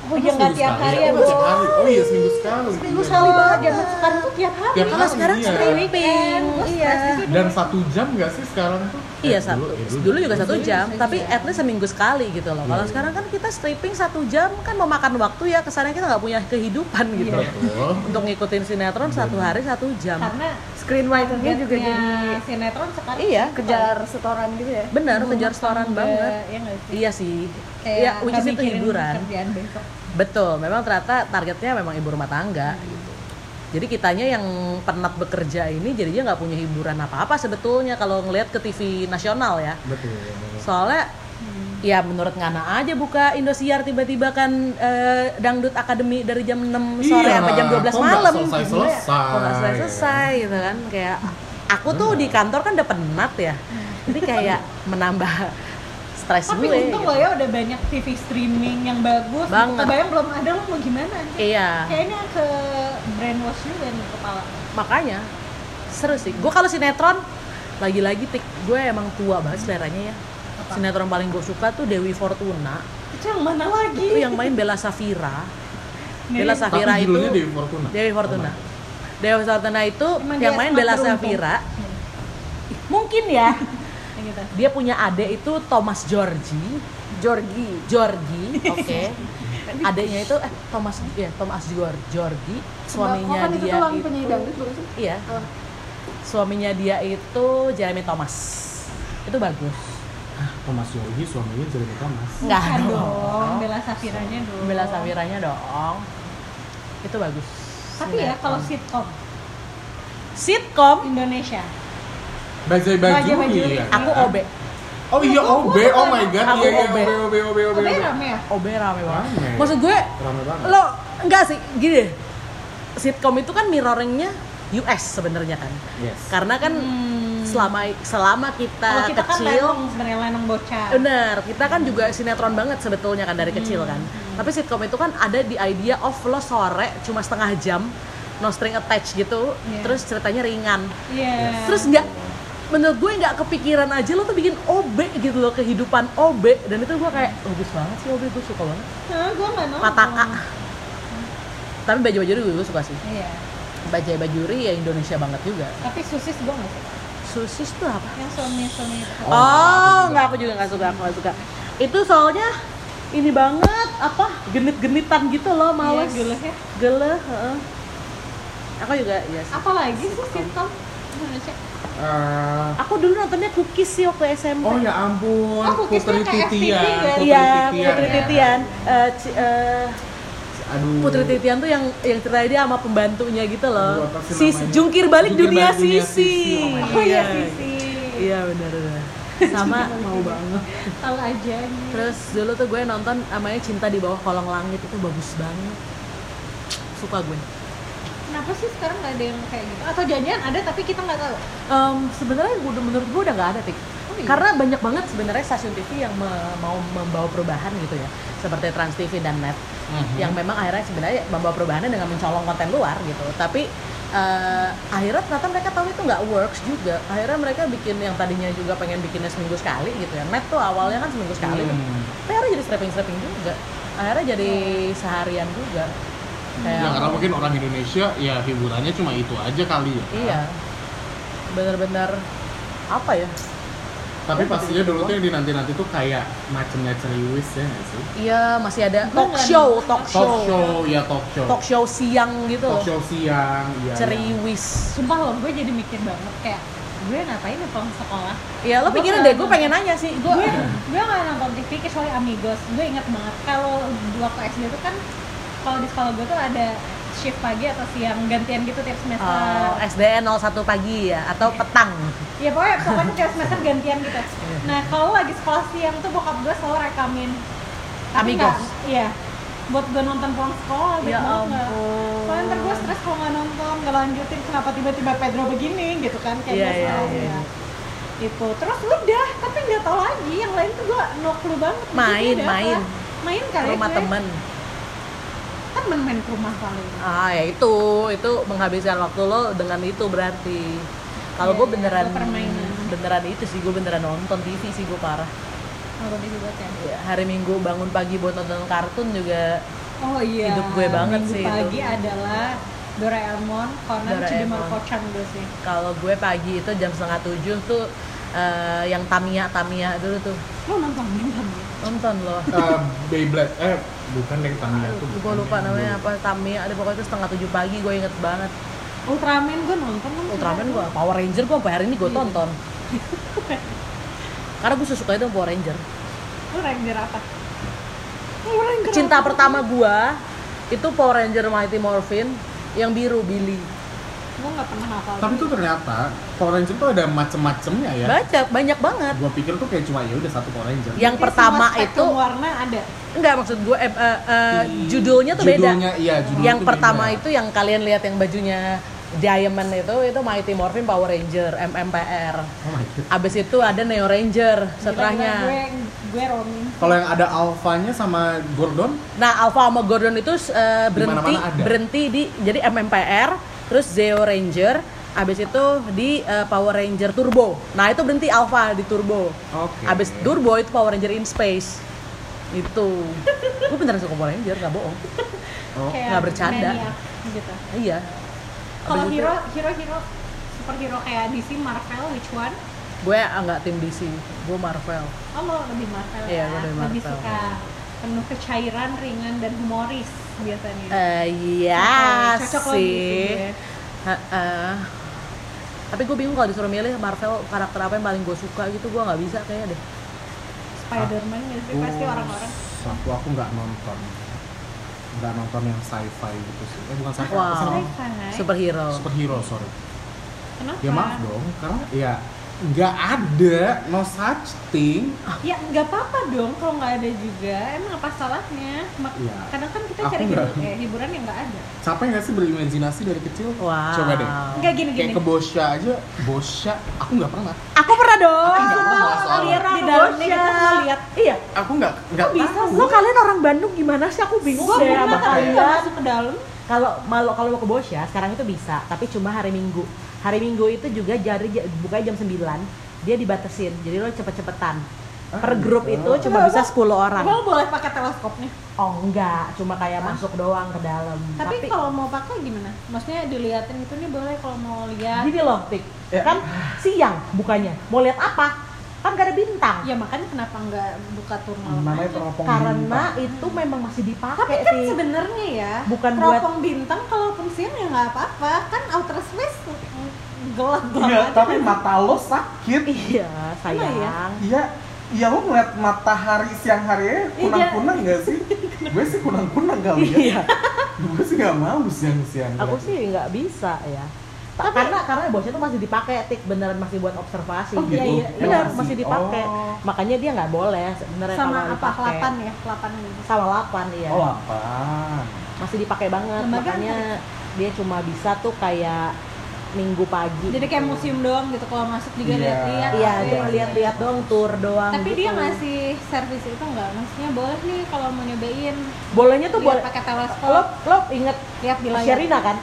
oh iya nggak Seminggu tiap sekali. hari ya Oh, bu nggak tiap hari. Oh iya, seminggu sekali. seminggu Iya. sekali banget ya. zaman sekarang tuh tiap hari Tiap Kalau hari, sekarang iya. streaming. Weekend, gua Iya. stres di situ. Dan satu jam nggak sih sekarang tuh? Iya Eh, satu. ya Dulu juga satu jam, satu tapi jam. at least seminggu sekali gitu loh. Kalau Iya. sekarang kan kita stripping satu jam kan memakan waktu ya, kesannya kita nggak punya kehidupan gitu. Iya. Betul. Untuk ngikutin sinetron satu hari satu jam. karena screen writer-nya juga targetnya jadi sinetron sekarang Iya, kejar setoran gitu ya. Bener, Rumah kejar setoran tangga, banget. ya nggak sih Iya sih. Kayak Iya, which nggak is itu mikirin hiburan. kerjaan besok Betul, memang ternyata targetnya memang ibu rumah tangga gitu. Jadi kitanya yang penat bekerja ini jadinya nggak punya hiburan apa-apa sebetulnya kalau ngelihat ke TV nasional ya. Betul. Soalnya ya menurut Ngana aja buka Indosiar tiba-tiba kan eh, Dangdut Academy dari jam 6 sore Iya, sampai jam 12 kok nggak malam. Iya, selesai-selesai? Kok nggak selesai-selesai gitu kan kayak aku tuh di kantor kan udah penat ya. Jadi kayak menambah stres tapi gue. untung gitu. lo ya udah banyak TV streaming yang bagus Banget. kebayang belum ada lo mau gimana aja Iya. kayaknya ke brainwash juga nih kepala makanya seru sih gue kalau sinetron lagi-lagi tik gue emang tua banget seleranya ya sinetron paling gue suka tuh Dewi Fortuna itu yang mana lagi itu yang main Bella Safira Nih, Bella Tapi Safira itu judulnya Dewi Fortuna. Dewi Fortuna Oh my God. Dewi Fortuna itu Emang yang dia main sangat Bella beruntung. Iya. Safira mungkin ya yang gitu. dia punya adik itu Thomas Georgie Jorgi. Georgie oke Iya. adiknya itu eh Thomas ya Thomas Georgie Georgie suaminya Kok kan itu dia tuh yang itu- gitu. penyanyi dangdut bukan sih? Iya. Oh. Suaminya dia itu Jeremy Thomas. Itu bagus. Thomas Oh, Yogi suaminya Jeremy Thomas. Nggak Bukan dong. dong Bella Safiranya dong Bella Safiranya dong. Itu bagus. tapi ya kalau sitcom sitkom Indonesia Bajai Bajuri. Bajai Bajuri. ya aku kan? OB. Oh iya, OB, oh my god, Aku iya iya, OB. OB, OB, OB, OB, Tapi rame ya? OB rame banget. Rame. Iya. Maksud gue, Rame banget. lo enggak sih, gini deh. Sitcom itu kan mirroringnya US sebenarnya kan. Yes. Karena kan selama selama kita, Hmm. Kalau kita kan kecil, lenong sebenarnya lenong bocah. bener, kita kan juga sinetron banget sebetulnya kan dari kecil kan. Hmm, Tapi sitcom itu kan ada di idea of lo sore cuma setengah jam, no string attached gitu, Iya. terus ceritanya ringan. Iya. terus nggak menurut gue nggak kepikiran aja lo tuh bikin OB gitu loh kehidupan OB dan itu gue kayak oh, bagus banget sih OB gue suka banget Hah, gua nggak nonton. pataka tapi baju bajuri gue suka sih Iya. baju bajuri ya Indonesia banget juga Tapi sosis gua nggak suka. susis tuh apa Yang suami suami itu. oh, nggak aku juga nggak suka aku nggak suka itu soalnya ini banget apa genit-genitan gitu loh males Iya, geleh ya. geleh heeh. aku juga ya sih. Apalagi sih sitcom Indonesia. Eh, aku dulu nontonnya cookies sih waktu SMP oh ya ampun, Oh, Putri cookiesnya kayak Titian, FTV kan? Putri Iya, Putri ya. Titian. Eh, Ci- eh, Aduh. Putri Titian tuh yang yang ceritanya dia sama pembantunya gitu Aduh, loh. apa sih Sis namanya? jungkir balik Jungkir dunia balik dunia Sisi, sisi. oh my Oh iya sisi. Iya benar benar. Sama mau banget. Tahu aja nih. Terus dulu tuh gue nonton namanya Cinta di Bawah Kolong Langit itu bagus banget. Suka gue. Kenapa sih sekarang nggak ada yang kayak gitu? Atau janjian ada tapi kita nggak tahu. Em, sebenarnya gue- menurut gue udah nggak ada tik Oh, iya? karena banyak banget sebenarnya stasiun TV yang me- mau membawa perubahan gitu ya seperti Trans TV dan Net Hmm, yang memang akhirnya sebenarnya membawa perubahannya dengan mencolong konten luar gitu tapi eh, akhirnya ternyata mereka tahu itu nggak works juga akhirnya mereka bikin yang tadinya juga pengen bikinnya seminggu sekali gitu ya Net tuh awalnya kan seminggu sekali tuh. Hmm. tapi akhirnya jadi strapping strapping juga akhirnya jadi seharian juga Kayak- Ya, karena mungkin orang Indonesia ya hiburannya cuma itu aja kali ya. iya bener-bener apa ya Tapi pastinya dulu tuh yang dinanti-nanti tuh kayak macamnya ceriwis ya nggak sih? Iya, masih ada Gue talk nggak show, nonton. talk show, Talk show, ya talk show. talk show siang gitu Talk loh. show siang, iya. iya. Ceriwis. Sumpah loh, gue jadi mikir banget kayak gue ngapain ya pulang sekolah Ya lo Gue pikirin nggak deh, gue nonton. pengen nanya sih. Gue gue gue nggak nonton TV kecuali Amigos gue inget banget kalau waktu SD itu kan kalau di sekolah gue tuh ada shift pagi atau siang gantian gitu tiap semester oh, SDN 01 pagi ya atau petang. ya pokoknya pokoknya tiap semester gantian gitu nah kalau lagi sekolah siang tuh bokap gue selalu rekamin Tapi Amigos. nggak- iya buat gue nonton pulang sekolah Ya gitu nggak ampun. soalnya ntar gue stres kalau nggak nonton nggak lanjutin kenapa tiba-tiba Pedro begini gitu kan kayak Iya, gue iya, selalu iya. ya. itu terus udah tapi nggak tahu lagi yang lain tuh gue no clue banget Jadi Main, ada apa. main. main Ke kali rumah gue. temen. kan main-main ke rumah paling Ah ya itu, itu menghabiskan waktu lo dengan itu berarti. Iya, Kalau gue iya, beneran gue permainan. beneran itu sih, gue beneran nonton TV sih gue parah. kalau di juga kan Ya, hari Minggu bangun pagi buat nonton kartun juga oh iya Hidup gue banget Minggu sih itu. pagi adalah Doraemon, Conan, Doraemon. Cidemarco Chan gue sih kalau gue pagi itu jam setengah tujuh tuh eh, yang Tamiya Tamiya dulu tuh lo nonton ya? Doraemon nonton loh Eh, Beyblade, eh bukan yang Tamiya tuh. gue bukan lupa yang namanya apa Tamiya ada pokoknya itu setengah tujuh pagi gue inget banget Ultraman gue nonton kan Ultraman gue Power Ranger gue sampai hari ini gue Iya. tonton karena gue suka itu Power Ranger lo Ranger apa lo Ranger cinta apa? pertama gue itu Power Ranger Mighty Morphin yang biru Billy gue nggak pernah hafal Tapi tuh ternyata Power Ranger tuh ada macem-macemnya ya. baca banyak banget Gua pikir tuh kayak cuma ya udah satu Power Ranger. yang Jadi pertama semua itu spektrum warna ada enggak maksud gue eh, eh, eh, judulnya tuh beda Judulnya, iya, judulnya yang tuh pertama beda. itu yang kalian lihat yang bajunya Diamond itu itu Mighty Morphin Power Ranger MMPR. Oh my god. Abis itu ada Neo Ranger Gila-gila, gue setelahnya. gue roaming Kalau yang ada Alfanya sama Gordon, Nah Alpha sama Gordon itu eh, berhenti Dimana-mana ada. berhenti di jadi MMPR terus Zeo Ranger. Abis itu di eh, Power Ranger Turbo. Nah itu berhenti Alpha di Turbo. Oke. Abis Turbo itu Power Ranger in Space. Itu. Gue beneran suka Power Ranger nggak bohong. Oh. kayak nggak bercanda. maniak gitu Iya. kalau Abis itu- hero hero hero superhero kayak DC Marvel which one gue ah, nggak tim DC, gue Marvel. Oh, lo lebih Marvel ya? Iya, gue lebih Lebih Marvel. suka penuh kecairan, ringan, dan humoris biasanya. Eh, iya Cocok lo di sih. sini ya. Heeh. Tapi gue bingung kalau disuruh milih Marvel karakter apa yang paling gue suka gitu gue nggak bisa kayaknya deh. Spider-Man ya sih, pasti orang-orang. Satu aku nggak nonton, nggak nonton yang sci-fi gitu sih. Eh bukan sci-fi, Oh. apa sih Wow. namanya? Sci-fi. Superhero. superhero sorry. Kenapa? Ya maaf dong, karena ya nggak ada no such thing Ya nggak apa-apa dong kalau nggak ada juga. Emang apa salahnya? Ma- Iya. Kadang kan kita Aku cari nggak- Oh. hibu- eh, hiburan yang nggak ada. capek nggak sih berimajinasi dari kecil Wow. coba deh Nggak gini-gini. kayak ke bosya aja bosya aku nggak pernah Aku pernah dong. Aku nggak pernah, soalnya. di dalamnya kita nggak lihat. Iya. aku nggak nggak Bisa lo kalian orang Bandung gimana sih aku bingung Gua deh ya, pernah sama tahu. kalian. nggak masuk ke dalam. Kalau malu kalau mau ke Bosya sekarang itu bisa, tapi cuma hari Minggu. Hari Minggu itu juga jari j- buka jam 9, dia dibatasin. Jadi lo cepet-cepetan. Ah, Per grup itu gitu. cuma bisa 10 orang. Kalau boleh pakai teleskopnya. Oh enggak, cuma kayak masuk doang ke dalam. Tapi, kalau mau pakai gimana? Maksudnya diliatin gitu nih boleh kalau mau lihat. gini loh, Tik. Ya. Kan siang bukannya. Mau lihat apa? Kan gak ada bintang. Ya makanya kenapa nggak buka tur malam namanya aja? teropong Karena bintang. itu memang masih Tapi dipakai kan sih. sebenarnya ya, Bukan teropong bintang kalaupun siang ya nggak apa-apa. Kan outer space mm, gelap-gelap Iya, aja tapi kan. mata lo sakit Iya, sayang. Iya ya. Iya, iya lo ngeliat matahari siang hari aja kunang-kunang nggak sih? gue sih kunang-kunang kali ya. Iya. gue sih nggak mau siang-siang. Aku sih nggak bisa ya. Ta- karena karena bosnya tuh masih dipakai tik beneran masih buat observasi. Oh, Jadi, gitu? iya, benar Masih. masih dipakai. Oh. Makanya dia nggak boleh sebenarnya sama kalau apa dipakai. lapan ya lapan gitu. Sama lapan ya. Oh apa? Masih dipakai banget. Lembaga Makanya dia cuma bisa tuh kayak minggu pagi. jadi kayak gitu. museum doang gitu kalau masuk juga Iya. lihat-lihat Iya, tapi- cuma lihat-lihat doang, tour doang. tapi gitu. dia ngasih servis itu nggak maksudnya boleh nih kalau mau nyobain bolanya tuh lihat boleh. pakai Lo teleskop lo inget lihat di layar Sherina kan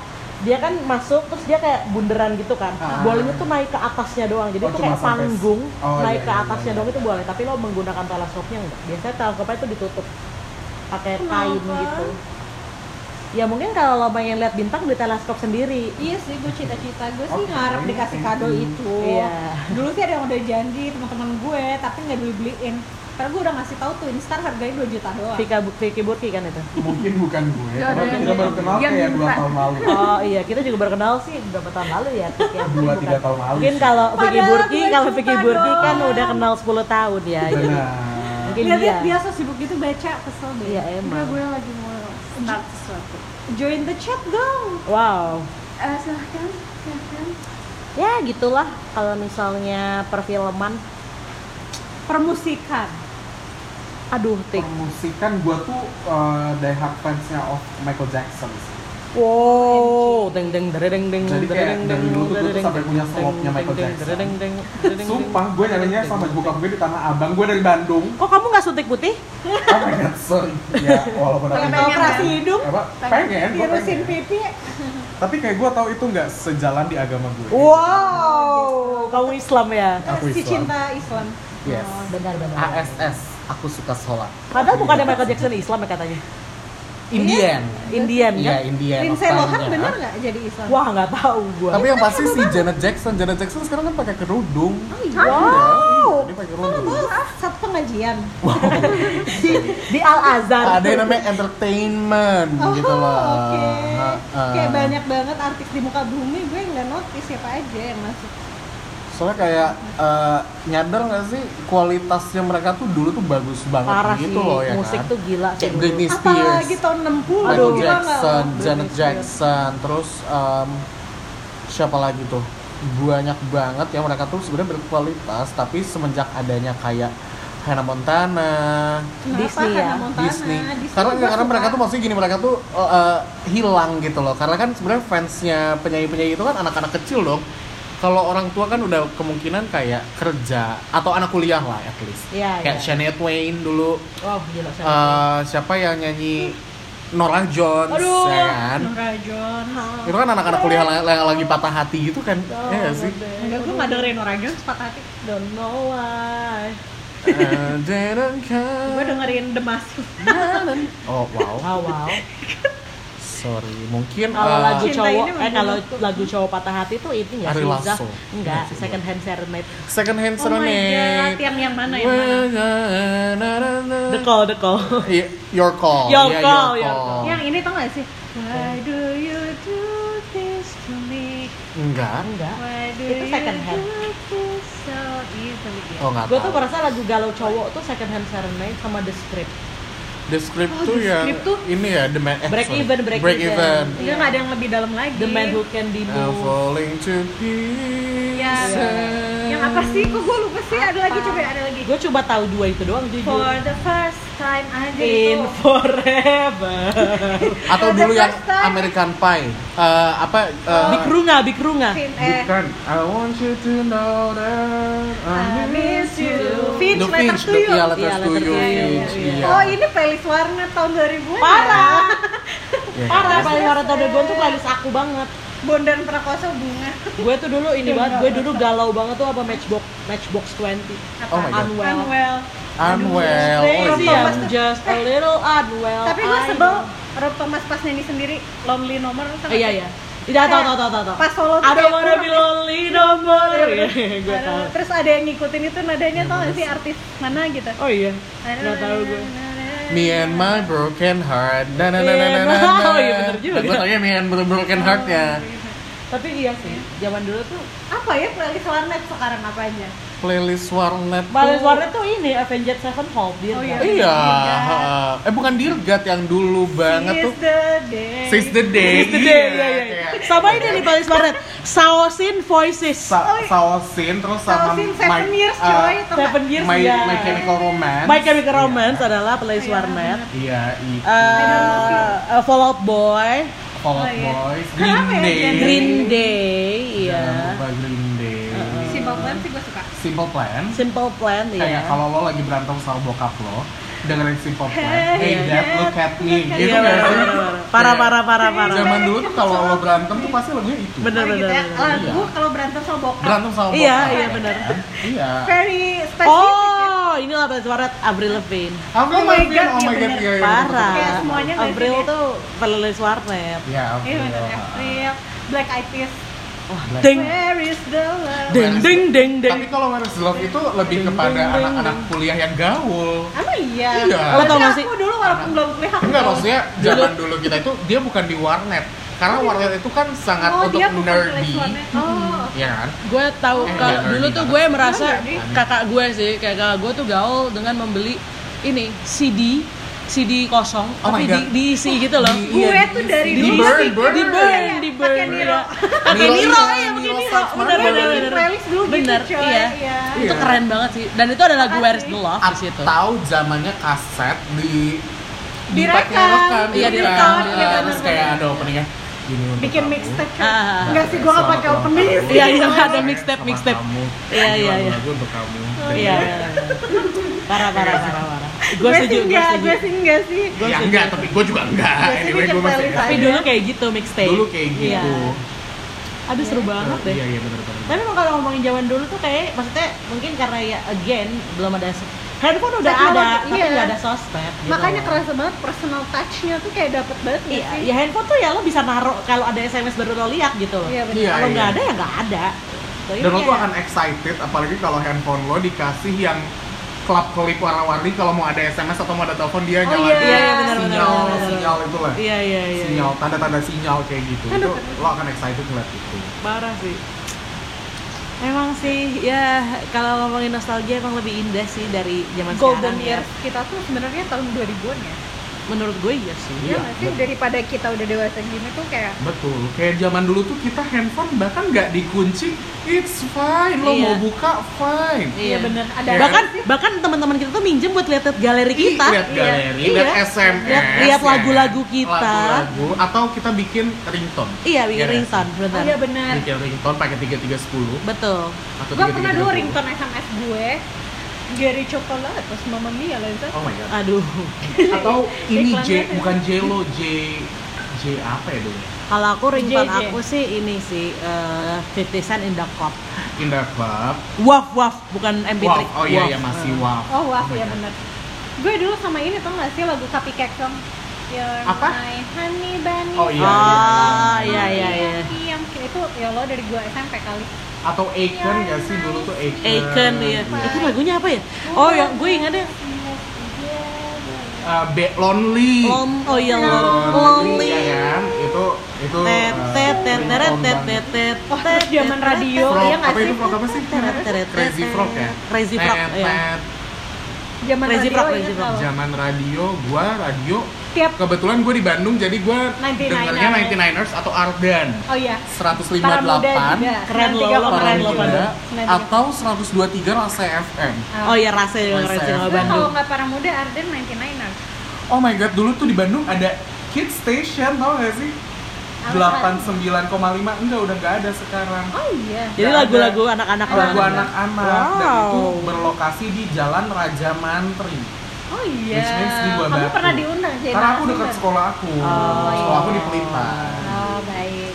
dia kan masuk terus dia kayak bunderan gitu kan Ah. bolanya tuh naik ke atasnya doang jadi Oh, itu cuma kayak sampai- panggung Oh, iya, naik ke iya, atasnya iya. doang itu boleh tapi lo menggunakan teleskopnya enggak biasanya teleskopnya itu ditutup pakai Kenapa? kain gitu ya mungkin kalau lo pengen lihat bintang beli teleskop sendiri iya sih gue cita-cita gue sih Oke, Hmm. ngarep dikasih thank kado you. itu Iya. dulu sih ada yang udah janji teman-teman gue tapi nggak dibeli beliin karena gue udah ngasih tahu Twin Star harganya 2 juta doang Vika Bu- Vicky Burki kan itu Mungkin bukan gue, Ya, karena ada yang kita baru kenal yang kayak dua minta. tahun lalu. oh iya kita juga baru kenal sih berapa tahun lalu ya Tik, ya. Dua, Bukan. tiga tahun lalu mungkin sih. kalau Vicky Padahal Burki dua kalau juta Vicky Burki kan doang. udah kenal 10 tahun ya Iya, jadi Benar. mungkin Lihat-lihat dia dia so sibuk gitu baca kesel deh Iya, emang. Enggak, gue lagi mau start sesuatu join the chat dong wow Eh, silahkan, silahkan. ya gitulah kalau misalnya perfilman permusikan aduh tik Permusikan gue tuh uh, die hard fansnya of Michael Jackson. sih. wow deng deng deng deng deng Jadi kayak dari dulu tuh gue tuh sampai punya slopnya Michael Jackson. Sumpah, gue nyarinya sama bokap gue di Tanah Abang. Gue dari Bandung. kok kamu nggak suntik putih Oh my god, sorry. Ya, walaupun aku Pengen tahu operasi Iya, hidung, apa, pengen, gue tirusin pengen. pipi, Tapi kayak gue tahu itu nggak sejalan di agama gue. wow kamu Islam ya Aku si Islam. cinta Islam. Yes. Oh, benar benar ASS, aku suka sholat. padahal bukannya Michael Jackson Islam ya katanya Indian. Indian kan Iya, Indian. Lindsay Lohan Makanya. bener nggak jadi Islam? wah nggak tahu gua Tapi yang pasti si Janet Jackson. Janet Jackson sekarang kan pakai kerudung. Iya, wow Dia pakai Kalau kerudung. tuh satu pengajian. di Al Azhar Ada yang namanya entertainment Oh, gitu loh. oke. Ha, ha. Kayak banyak banget artis di muka bumi, gue nggak notice siapa aja yang masuk. Soalnya kayak eh, nyadar nggak sih kualitasnya mereka tuh dulu tuh bagus banget parah sih gitu loh ya musik kan. tuh gila sih Kayak dulu. Britney Spears. Apalagi tahun 60 Michael gila nggak Jackson, lo? Janet Britney Spears. Jackson, terus em, siapa lagi tuh? Banyak banget ya mereka tuh sebenarnya berkualitas, tapi semenjak adanya kayak Hannah Montana, Kenapa Disney ya? Hannah Montana? Disney. Disney Karena gue karena suka. mereka tuh maksudnya gini, mereka tuh eh, eh, hilang gitu loh. Karena kan sebenarnya fansnya penyanyi-penyanyi itu kan anak-anak kecil dong. Kalau orang tua kan udah kemungkinan kayak kerja atau anak kuliah lah at least. Iya, iya. kayak Shania Twain dulu wow gila Eh, Shania siapa yang nyanyi Norah Jones Aduh, ya kan? Nora Jones. Itu kan anak-anak kuliah la- la- lagi patah hati gitu kan. Oh, Iya nggak sih? Enggak, gue nggak dengerin Nora Jones patah hati. don't know why Eh, they don't care. Gue dengerin The Massive. Oh, wow. wow wow Sorry. Mungkin Kalau eh, lagu Cinta cowok, ini eh kalau membunuhku. lagu cowok patah hati tuh itu nggak sih? Ari Lasso. Zah? Enggak, Nggak sih, second hand serenade. second hand Oh my god, serenade. yang yang mana yang mana? The call, the call. Iya, Your call. Your Iya, call, your your call. Yang ini tau gak sih? Why do you do this to me? Enggak. Enggak. Why do Itu second you hand. do this so easily? Oh, enggak. Gue tuh tahu. merasa lagu galau cowok tuh second hand serenade sama the script. The script Oh, tuh The ya Script tuh ini ya the man eh, Break sorry. even, break even. even. Udah nggak ada yang lebih dalam lagi. The Man Who Can Be I'm Moved. falling to pieces. Ya. Yang apa sih? Kok gue lupa sih? Ada lagi coba ada lagi. Gue coba tahu dua itu For doang jujur. the first time aja In itu. forever. Atau For the dulu yang first time. American Pie. Eh, apa? eh, Bikrunga, bikrunga. Fin- eh, Bukan. I want you to know that I I'm miss you. Ah, Finch, The letter Finch, to the- you. iya, letter Iya, to letter you, to you, Finch, iya. iya. Oh ini playlist warnet tahun ya? 2000 an Parah. Iya. Parah, paling horor tahun 2000 tuh playlist aku banget. Bondan Prakoso bunga Gue tuh dulu ini banget, gue dulu galau banget tuh apa Matchbox Matchbox 20. Oh my Unwell. god. Unwell Unwell. Oh Crazy, iya. Thomas I'm just a little unwell. Tapi gue Oh, I sebel know. Rob Thomas pas nyanyi sendiri Lonely Nomor tau nggak Eh, Iya, sih? iya. Tidak tahu tahu tahu tahu tahu. Pas solo tuh I don't kayak wanna be kurang. lonely no more. Iya, Ada- Gue ya? tahu. Terus ada yang ngikutin itu nadanya tau gak sih artis mana gitu Oh iya. Nggak tahu gue. Me and my broken heart. Na na na na na na. na. Oh, iya, bener juga. Gue taunya me and my broken heart ya. Tapi iya sih, zaman dulu tuh Apa ya playlist warnet sekarang apa aja? Playlist warnet. tuh- Balas warnet tuh ini Avenged Sevenfold dia. Oh, iya. kan? Iya. Dirgat. Eh bukan Dirgat yang dulu banget Is tuh. the day Sis the day. Itu dia, iya, iya, iya. Kayak- Sama ini nih Balis Warnet, Saosin Voices. Sa Oh, iya. Saosin terus sama Sausin Seven My- Years eh, coy tau nggak? Seven Years My, ya. My Chemical Romance. My Chemical Iya. Romance Uh, adalah Balis Iya, Warnet. Iya, itu. Eh, Fall Out Boy, Fall Oh, Out iya. Boys, Green Kenapa ya? Day. Green Day, iya. Jangan lupa Green Day. Si Bang sih gue suka Simple Plan. Simple Plan ya. Kayak kalau lo lagi berantem sama bokap lo, dengerin Simple Plan. Hey, Iya. Dad, look at me. Gitu Iya, nggak bener, sih? bener, bener. Parah, parah, parah, parah. Zaman dulu tuh kalau lo berantem tuh pasti lagunya itu. Bener, Oh, Iya. gitu bener, ya. bener. Lagu kalau berantem sama bokap Berantem sama bokap. Iya, iya, bener. kan? Iya. Very spesifik Oh, inilah Balis Warnet Avril Lavigne. Avril Oh my God, Lavigne, oh iya my god, bener. iya, iya, Kayak betul-betul. Parah. semuanya nggak sih Avril dia? tuh Balis Warnet. Iya, Iya bener, Avril. April Black Eyed Peas Black- Ding, Where is the love? ding, ding, ding, ding. Tapi kalau Where is Love itu lebih kepada anak-anak kuliah yang gaul. Emang iya? Iya. Lo tau gak Tapi sih? Aku dulu walaupun belum kuliah aku Enggak tahu. maksudnya zaman dulu kita itu dia bukan di warnet. Karena warnet itu kan sangat Oh untuk dia bukan nerdy. tulis warnet Oh Iya kan? gue tahu Eh, kalau iya, nerdy dulu tuh banget. gue merasa Nerdy. kakak gue sih kayak kakak gue tuh gaul dengan membeli ini CD CD kosong Oh tapi my di, God. diisi gitu loh Di- Gue tuh dari Iya. Di dulu burn, masih- burn. di Iya, burn iya, di burn Pakai Niro iya. pakai Niro, niro Niro, ya pakai Niro niro Saxman. Gue bener bener bikin bener playlist dulu gitu, bener coy. iya Iya. itu Iya. keren banget sih dan itu ada lagu Makasih. Where's the Love di situ Atau zamannya kaset di Direkam. dipakai rekam, Iya, direkam. direkam, iya, Eh, terus bener-bener. kayak ada openingnya. Gini untuk Bikin kamu. mixtape Ah. Enggak sih gue gak Selamat pakai ulang open tahun. Iya, iya, Selamat ada ulang mixtape, tahun mixtape. kamu. Iya, Ini iya, iya. lagu-lagu untuk kamu. iya iya, iya. parah parah parah parah gue Gue sih setuju gue enggak, gue setuju sih enggak sih Ya enggak, tapi gue juga enggak. Biasanya Anyway, bikin gue masih ya. playlist tapi aja. dulu kayak gitu mixtape dulu kayak gitu. Iya. aduh seru banget deh Iya, iya benar-benar. Tapi emang kalau ngomongin zaman dulu tuh kayak maksudnya mungkin karena ya again belum ada s- handphone udah ada Teknologi, tapi iya. nggak ada sosmed gitu. Makanya Iya. loh. kerasa banget personal touch-nya tuh kayak dapet banget gak Iya, sih? ya handphone tuh ya lo bisa naruh kalau ada SMS baru lo lihat gitu loh. Iya bener Iya, Kalau nggak iya. ada ya nggak ada. Gitu. Ini Dan lo tuh kayak- akan excited, apalagi kalau handphone lo dikasih yang klap kelip warna-warni kalau mau ada SMS atau mau ada telepon dia Oh, iya, nyalain iya, benar, benar, sinyal benar, benar. sinyal itu lah Iya iya iya. sinyal tanda-tanda sinyal kayak gitu itu lo akan excited ngeliat itu Parah sih. Emang sih ya kalau ngomongin nostalgia emang lebih indah sih dari zaman Golden sekarang ya. years kita tuh sebenarnya tahun 2000-an Iya, ya Menurut gue iya sih. Iya nggak sih? betul. Daripada kita udah dewasa gini tuh kayak betul kayak zaman dulu tuh kita handphone bahkan nggak dikunci it's fine lo Iya. mau buka fine Iya bener, ada Iya. bahkan bahkan teman-teman kita tuh minjem buat lihat galeri kita lihat galeri Iya. lihat SMS Lihat- lihat ya. lagu-lagu kita. lagu-lagu atau kita bikin ringtone iya bikin Iya nggak ringtone Oh benar iya bener bikin ringtone pakai tiga tiga sepuluh betul atau Gue pernah dulu 3330. ringtone SMS gue Gary Chocolate, terus Mamma Mia, Lenza oh my god aduh atau ini Iklannya J ya. tuh. bukan Jelo J J apa ya dulu kalau aku ringtone JJ. aku sih ini sih eh, 50 Cent in the Cup Indah Club waf waf bukan MP3 Wow oh iya Waf. iya masih wow Oh wah, my ya God. bener Gue dulu sama ini tau gak sih lagu Kapi Kekem You're Apa? my honey bunny oh iya, Ah, iya. iya. yang Itu ya lo dari gue SMP kali atau Aiken ya sih dulu tuh Aiken Aiken ya itu lagunya apa ya oh ya gue ingatnya Eh, Be- Lonely lom oh iya lom lonely Iya kan itu itu tet eh, tet tet tet ringtone tet banget. tet tet Oh, terus zaman radio, Oh, Frog, iya nggak apa sih? itu frog apa sih? Teret, teret, Crazy teret. Frog ya? Crazy Frog, Tet, iya. tet. Zaman Crazy radio Frog, ingat Crazy Frog. nggak lo? Zaman radio, gua radio Tiap Kebetulan gue di Bandung, jadi gue 99ers. dengarnya 99ers atau Ardan oh iya. Para muda juga. 158 Keren lo, 93,8. lo Para keren lo muda pada. atau 123 Rasa FM Oh iya rasa yang Rasa. keren sih Gue kalau Bandung. nggak para muda Arden 99ers. Oh my god, dulu tuh di Bandung ada Kids Station, tau gak sih? Apa? 89,5 enggak udah nggak ada sekarang. Oh iya. Jadi Nggak ada. lagu-lagu anak-anak Lagu banget. anak-anak dan itu Oh, Wow. berlokasi di Jalan Raja Mantri. Oh iya. Which means di Buah Kamu Batu. pernah diundang jadi Karena aku dekat narasumber? sekolah aku. Iya, Oh. Sekolah aku di Pelipan. Oh baik.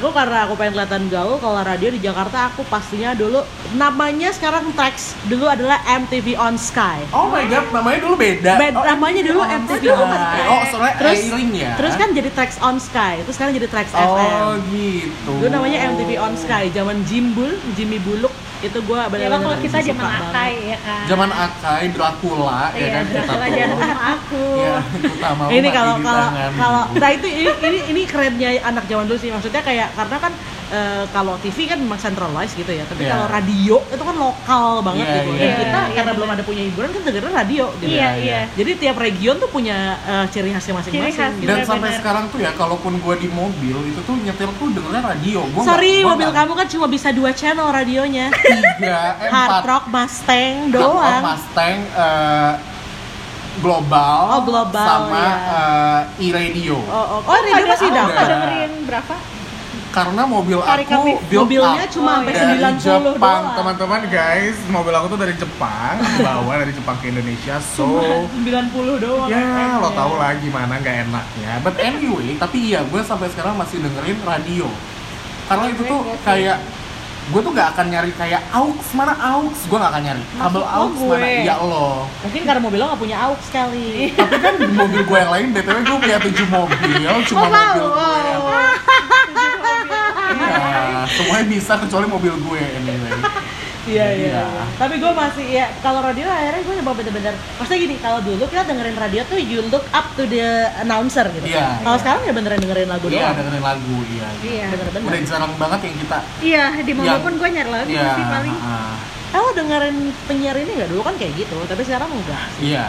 Aku karena aku pengen kelihatan gaul kalau radio di Jakarta aku pastinya dulu namanya sekarang Trax dulu adalah MTV on Sky. Oh my god, namanya dulu beda. Band- oh, namanya dulu MTV on Sky. Oh, soalnya Terus- Ailing ya. Terus kan jadi Trax on Sky, terus sekarang jadi Trax FM. Oh gitu. Dulu namanya MTV on Sky, zaman Jimbul, Jimmy Buluk itu gua Ya benar-benar bang kalau kita suka zaman banget. atai ya kan. Zaman Akai, Dracula, ya Iya, kan kita Dracula tuh. jalan sama aku. Ya, utama ini kalau kalau kalau nah itu ini, ini ini kerennya anak zaman dulu sih maksudnya kayak karena kan eh, kalau TV kan memang centralized gitu ya tapi Iya. kalau radio itu kan lokal banget Iya, gitu iya, Dan iya. kita Iya, karena bener. belum ada punya hiburan kan dengerin radio gitu Iya Iya, iya. jadi tiap region tuh punya eh, ciri khasnya masing-masing Ciri khas. gitu. dan sampai benar. sekarang tuh ya kalaupun gua di mobil itu tuh nyetir tuh dengernya radio gua nggak- sorry gua mobil nggak- kamu kan cuma bisa dua channel radionya tiga eh, empat hard rock mustang Hard Rock doang Mustang eh, global Oh, global, sama iya. eh, e-radio oh, oh. oh radio masih Padahal dapat Aku dengerin berapa? karena mobil Tarik aku kami- build mobilnya up Oh, cuma sampai iya. dari 90 Jepang doang teman-teman guys mobil aku tuh dari Jepang dibawa dari Jepang ke Indonesia so sembilan 90 doang Ya, lo FM-nya. tau lah gimana nggak enaknya. But anyway, tapi iya gue sampai sekarang masih dengerin radio. Karena itu Iya tuh kayak gue tuh nggak akan nyari kayak aux mana aux gue nggak akan nyari kabel Maksud lo aux mana gue. ya lo mungkin karena mobil lo gak punya aux kali tapi kan di mobil gue yang lain btw gue punya tujuh mobil ya. cuma Oh, wow, mobil gue yang- wow. iya semuanya bisa kecuali mobil gue anyway Iya Iya. iya. iya. Tapi gue masih ya kalau radio akhirnya gue coba bener-bener. Maksudnya gini, kalau dulu kita dengerin radio tuh you look up to the announcer gitu. Iya, Kalau iya. sekarang ya beneran dengerin lagu iya doang. dengerin lagu iya Iya. Bener-bener. udah jarang banget yang kita Iya, di mobil Yang- pun gue nyari lagu iya sih paling. ah, Eh lo dengerin penyiar ini nggak dulu kan kayak gitu, tapi sekarang enggak. iya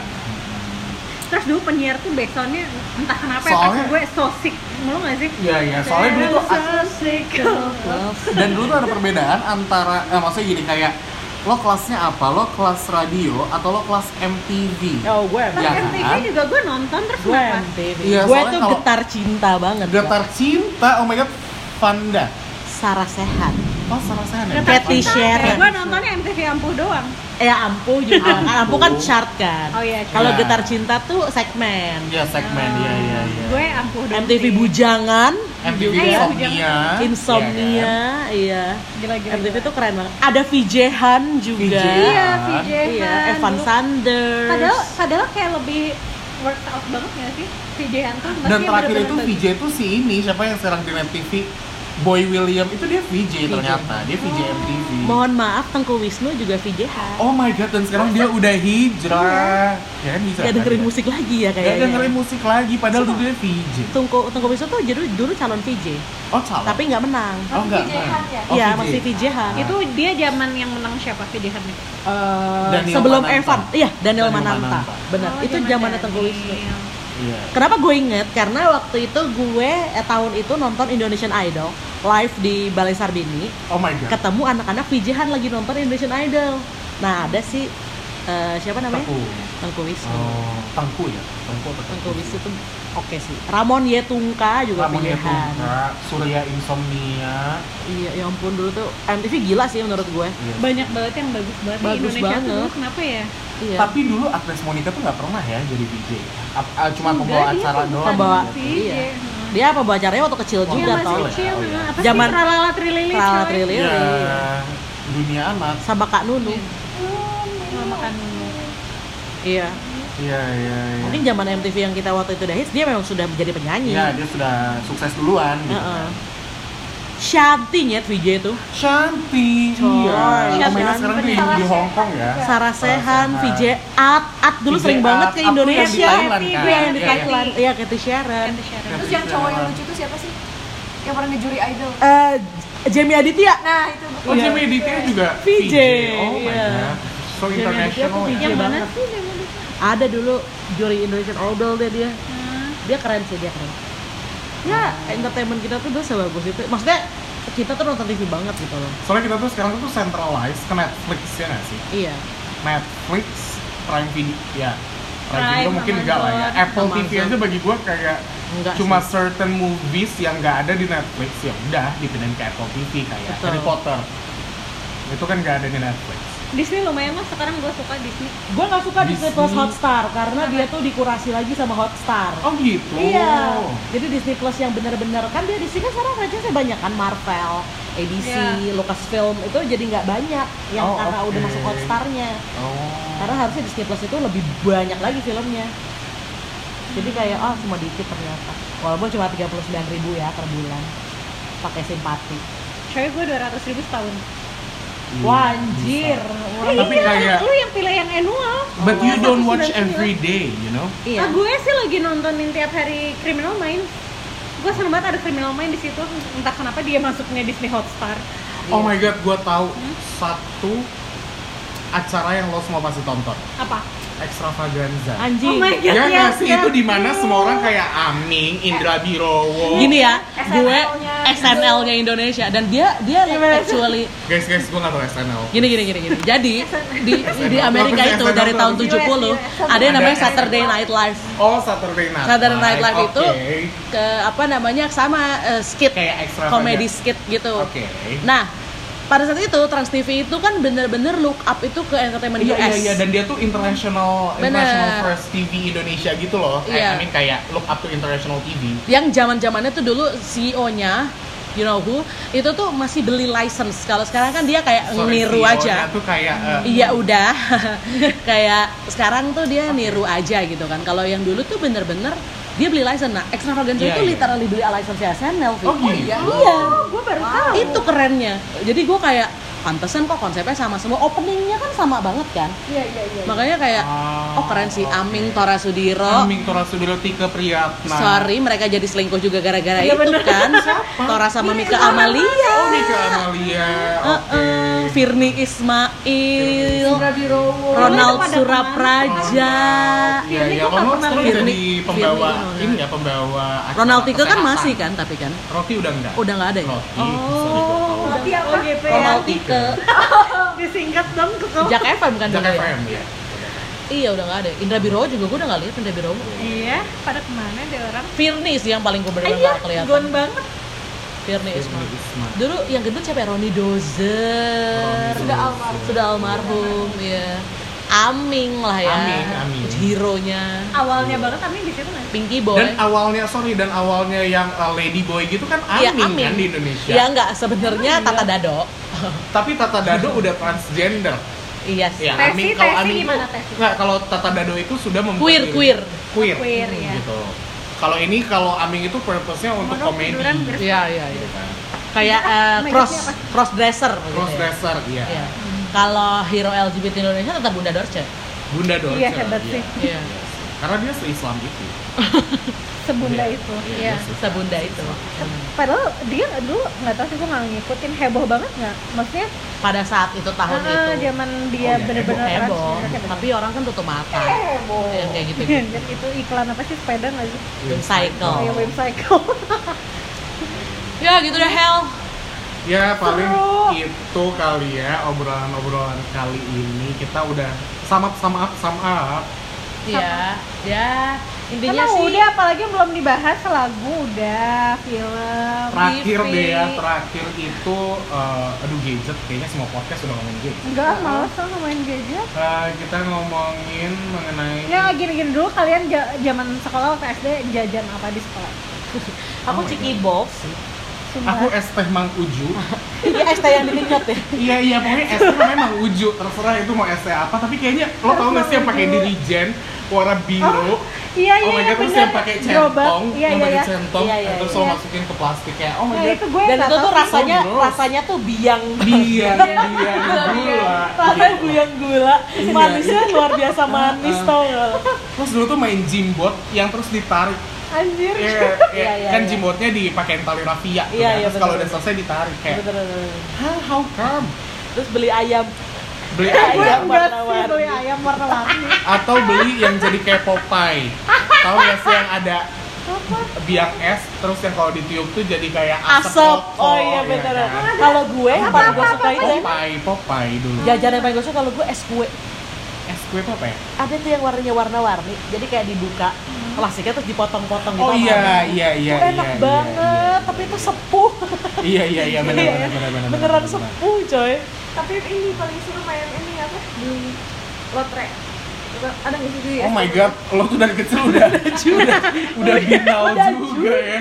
Terus dulu penyiar tuh backsoundnya entah kenapa ya, Soalnya- pas gue sosik mulu gak sih? iya iya soalnya dulu tuh sosik. dan dulu tuh ada perbedaan antara eh, maksudnya gini kayak lo kelasnya apa lo kelas radio atau lo kelas MTV Oh gue Pas emang. Iya. MTV juga gue nonton terus Gue kenapa? MTV. Iya, gue soalnya tuh kalau- getar cinta banget. getar cinta oh my god Fanda Sarah sehat. oh salah saya nih Getar Cathy Cinta, ya. Sharon. Gue nontonnya MTV Ampuh doang. Eh ampuh juga. kan. ampuh kan chart kan. Oh iya, Kalau Iya. getar cinta tuh segmen. ya segmen ya ya ya Gue Ampuh doang. MTV sih. bujangan, Iya, MTV iya, Insomnia ya kan? insomnia, iya. Gila gila. MTV gila. tuh keren banget. Ada VJ Han juga. VJ. Iya, kan? VJ. Iya, Evan dulu. Sanders. Padahal padahal kayak lebih workout banget gak sih? VJ-an tuh dan terakhir itu bener-bener VJ itu si ini siapa yang serang di MTV Boy William itu dia VJ ternyata dia VJ MTV Oh. Mohon maaf Tengku Wisnu juga VJ Han. oh my god dan sekarang dia udah hijrah ya kan bisa Gak kan, Iya. dengerin ya? musik lagi ya Gak kayaknya. dengerin musik lagi, padahal dulu dia VJ. Tengku Tengku Wisnu tuh dulu dulu calon VJ, Oh, salah. tapi nggak menang. oh, enggak. VJ enggak. ya? Oh, Iya, VJ. masih VJ Han. Itu dia zaman yang menang siapa VJ-an itu? Eh, Daniel sebelum Mananta. Evan. Iya, Daniel, Daniel Mananta. Mananta. Benar. Oh, itu zamannya Tengku Wisnu. Daniel. Iya. Kenapa gue inget? Karena waktu itu gue eh, tahun itu nonton Indonesian Idol live di Balai Sarbini. Oh my god. ketemu anak-anak VJ-an lagi nonton Indonesian Idol. Nah, ada si eh, siapa namanya? Tengku. Tengku Wisnu. Oh, tangku ya. Tangku apa Tengku Wisnu tuh oke sih. Ramon Yetungka juga Ramon VJ-an. Yatungka, Surya Insomnia. Iya, ya ampun dulu tuh MTV gila sih menurut gue. Iya. Banyak banget yang bagus banget di Bagus Indonesia tuh dulu banget. kenapa ya? Iya. Tapi dulu Agnes Monica tuh nggak pernah ya jadi DJ. Ap- ah, cuma Enggak, iya, pembawa dia acara tuh doang. bukan Pembawa. VJ. Iya. dia apa bacaranya waktu kecil Oh, Iya juga iya, masih tau. tahu ya, kecil, oh iya. nah, apa Zaman- sih tralala trilili Tralala coy? trilili. Iya. Dunia anak. Sama Kak Nunu. Iya. Nggak makan dulu. Iya. Iya, iya, iya. Mungkin zaman MTV yang kita waktu itu udah hits, dia memang sudah menjadi penyanyi. Iya, dia sudah sukses duluan gitu. Heeh. Shanti ya VJ itu. Shanti. Coy. Iya. Pemainnya Shanti. sekarang di, di Hong Kong ya. Sarah Sehan, Sehan. VJ At, At dulu VJ sering banget ke At. At tuh yang di Indonesia. Thailand, kan? Iya, yang di Iya, iya. Thailand. Iya, Cathy Sharon. Kan di-share. Terus yang cowok yang lucu tuh siapa sih? Yang pernah ngejuri idol. eh Jamie Aditya Oh, Nah, itu Iya. Oh, Jamie Aditya juga VJ. Oh my Iya. god. so Yang international dia tuh ya. yang Iya mana banget. sih yang mana sih? Ada dulu juri Indonesian Idol deh dia. Hmm. Dia keren sih, dia keren. Ya, entertainment kita tuh udah sebagus itu. Maksudnya kita tuh nonton TV banget gitu loh. Soalnya kita tuh sekarang tuh centralized ke Netflix ya nggak sih? Iya. Netflix, Prime Video, ya. Prime, Prime, Video mungkin enggak lah ya. Amazon. Apple TV Amazon. aja bagi gua kayak Enggak cuma sih. certain movies yang nggak ada di Netflix ya udah dipindahin ke Apple TV kayak Betul. Harry Potter. Itu kan nggak ada di Netflix. Disney lumayan mas sekarang gue suka Disney Gue gak suka Disney Plus Disney. Hotstar karena dia tuh dikurasi lagi sama Hotstar. Oh gitu. Iya. Jadi Disney Plus yang bener-bener kan dia di sini kan sekarang franchise-nya banyak kan Marvel, ABC, Iya. Lucasfilm itu jadi nggak banyak yang Oh, karena oke. udah masuk Hotstar-nya. Oh. Karena harusnya Disney Plus itu lebih banyak lagi filmnya. Jadi Hmm. kayak oh cuma dikit ternyata. Walaupun cuma 39.000 ribu ya per bulan pakai simpati. cewek gue 200 ribu setahun Iya, Wanjir. bisa. Eh, Tapi iya, kayak- lu yang pilih yang annual But you don't watch 199. every day, you know? Iya. Ah, gue sih lagi nontonin tiap hari Criminal Minds gue seneng banget ada Criminal Minds di situ entah kenapa dia masuknya Disney Hotstar Iya. Oh my god, gua tahu satu acara yang lo semua pasti tonton. apa Extravaganza. Oh Anjing. my God. Ya Yes, nggak yes, sih yes. itu dimana semua orang kayak Aming, Indra Birowo. Gini ya, gue SNL-nya. SNL-nya Indonesia dan dia dia like, actually Guys guys, gue nggak tahu ya, SNL. gini gini gini gini jadi di di Amerika itu dari tahun 70 Iya, ada yang namanya Saturday Night Live Oh Saturday Night. Saturday Night Live Oke. itu ke apa namanya sama eh, skit Kayak extravagant. komedi skit gitu Oke. nah pada saat itu Trans TV itu kan bener-bener look up itu ke entertainment US Iya iya iya dan dia tuh international Bener. international first TV Indonesia gitu loh. Iya. I, I mean kayak look up to international TV. yang zaman zamannya tuh dulu CEO-nya you know who itu tuh masih beli license kalau sekarang kan dia kayak Sorry, E niru CEO-nya aja Tuh kayak eh, Iya udah, kayak sekarang tuh dia niru aja gitu kan. Kalau yang dulu tuh bener-bener dia beli license. Nah, extravaganza Iya, itu iya. literally beli license SNL. Fit. Oh, gitu? iya. gue baru tahu Itu kerennya. Jadi gue kayak pantesan kok konsepnya sama semua. Openingnya kan sama banget kan. iya iya iya Makanya kayak Ah, oh keren sih oke. Aming Tora Sudiro. Aming Tora Sudiro Tike Priyatna. Iya. Sorry, mereka jadi selingkuh juga gara-gara Iya, itu kan. Tora sama Mika Oh Amalia. Nika Amalia. Oke. Heeh, Firni Ismail. Birowo Ronald Itu pada Surapraja. Iya, Firly iya, gua nggak Ronald pernah sekarang lihat. jadi Firly, pembawa Firly, ini ya pembawa acara Ronald Tike kan kesehatan. masih kan tapi kan Roti udah enggak? udah Oh, nggak ada ya. Roti. kemana. Oh, tapi apa GP ya Ronald Tike, disingkat dong ke kamu Jack FM kan Jack dulu ya? FM ya. Iya udah nggak ada. Indra Birowo juga gue udah nggak lihat Indra Birowo. iya pada kemana deh orang Firni sih yang paling gue bener Iya, nggak kelihatan. gon banget Firni Iya, Ismail. Firly Ismail. Dulu yang gendut siapa ya? Roni Dozer. Roni Sudah Dozer. almarhum. Sudah almarhum ya. Aming lah ya. Aming, Aming. Hero-nya. awalnya banget kami di situ nanti Pinky Boy. Dan awalnya sorry dan awalnya yang uh, Lady Boy gitu kan Aming, Iya, Aming. kan di Indonesia. ya nggak sebenarnya Tata Dado. Tapi Tata Dado udah transgender. iya sih. Ya, Tesi, Aming kalau Tesi Aming gimana, tuh- Tesi? nggak, kalau Tata Dado itu sudah membuat Queer, diri- queer. queer, Queer, ya. gitu. Kalau ini kalau Aming itu purpose-nya untuk Mono komedi. tiduran ber- Iya iya iya. Gitu kan. Kayak eh, Megapnya cross apa? cross dresser. Cross dresser, iya. Iya. Kalau hero LGBT Indonesia tetap Bunda Dorce. Bunda Dorce. Iya, hebat iya. sih. Iya. Karena dia se-Islam itu. sebunda itu Iya, sebunda itu. padahal dia dulu nggak tahu sih gue nggak ngikutin heboh banget nggak maksudnya Pada saat itu tahun ah, itu zaman dia Oh, iya, bener-bener gitu. heboh, transgender, kayak tapi orang kan tutup mata. Yang kayak gitu. Oh. bener. Dan itu iklan apa sih sepeda nggak sih Game cycle. kayak web cycle Ya gitu deh hell. Ya paling Seru. itu kali ya obrolan-obrolan kali ini kita udah sama sama up sama up. Iya. Ya, intinya karena sih udah apalagi yang belum dibahas lagu udah film Terakhir TV. deh ya, terakhir itu eh, aduh gadget kayaknya semua podcast udah ngomongin gadget. enggak malas sama main gadget Eh, kita ngomongin mengenai Ya gini-gini dulu kalian ja- zaman sekolah waktu SD jajan apa di sekolah? aku Oh my ciki God. box. Sumpah. Aku es teh Mang Uju. Iya, es teh yang ditingkat ya. iya iya pokoknya es teh namanya Mang Uju. Terserah itu mau es teh apa tapi kayaknya lo tau gak sih yang pakai dirijen warna biru. Iya iya oh my iya, god, terus bener. yang pakai Gerobak. centong, Iya yang iya pakai iya. centong, Iya, iya, terus lo iya. masukin ke plastik kayak oh my Nah, god, itu gue Dan nggak itu tuh tahu. rasanya gross. rasanya tuh biang dia dia Gitu. gula rasanya biang gula Iya. manisnya luar biasa manis Heeh. tau gak lo? terus dulu tuh main jimbot yang terus ditarik Anjir. Iya, Iya, iya, iya. kan iya. jimbotnya dipakein tali rafia tuh Iya, kan. iya, terus kalau betul, udah betul. selesai ditarik kayak Betul, betul, betul. how how come terus beli ayam beli Gue ayam enggak sih beli ayam warna-warni. atau beli yang jadi kayak Popeye tahu nggak sih yang ada biak es terus yang kalau ditiup tuh jadi kayak asap, Asap. rokok, Oh iya ya bener. kan? Kalau gue yang paling gue suka itu ya. Popeye Popeye dulu Jajanan yang paling gue suka kalau gue es kue. es kue apa ya Ada tuh yang warnanya warna-warni. Jadi kayak dibuka plastiknya terus dipotong-potong gitu. Hmm. oh iya iya iya Itu iya, enak iya, banget, tapi itu sepuh. iya iya iya benar Iya, benar benar benar Beneran benar. sepuh, coy. Tapi ini paling seru main ini apa? Beli lotre. Coba- Ada nggak sih dulu ya? Oh my god, lo tuh dari kecil udah udah udah binal juga ya.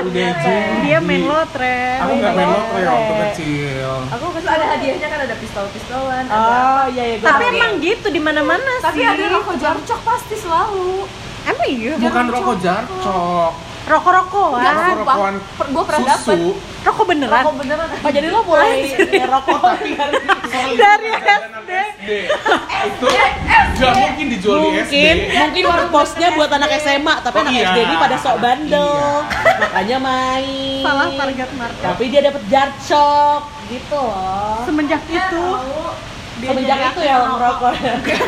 Udah judi. Dia main lotre. Aku nggak main lotre waktu kecil. Aku kesel ada hadiahnya kan ada pistol-pistolan, ada Oh iya iya gue Tapi tahu. emang gitu di mana-mana sih. tapi ada rokok jarcok pasti selalu. Emang iya. Bukan rokok jarcok, Rokok-rokokan. Enggak, rokokan gue pernah dapet susu. Rokok beneran. rokok beneran Oh, jadi lo mulai eh, rokok Dari SD. Itu nggak mungkin dijual di SD. mungkin mungkin warung posnya buat anak SMA tapi anak Iya. SD ini pada sok bandel Oh, Iya. makanya main Salah target market. tapi dia dapat jarcok gitu loh Semenjak itu Iya. semenjak itu ya lo ngerokok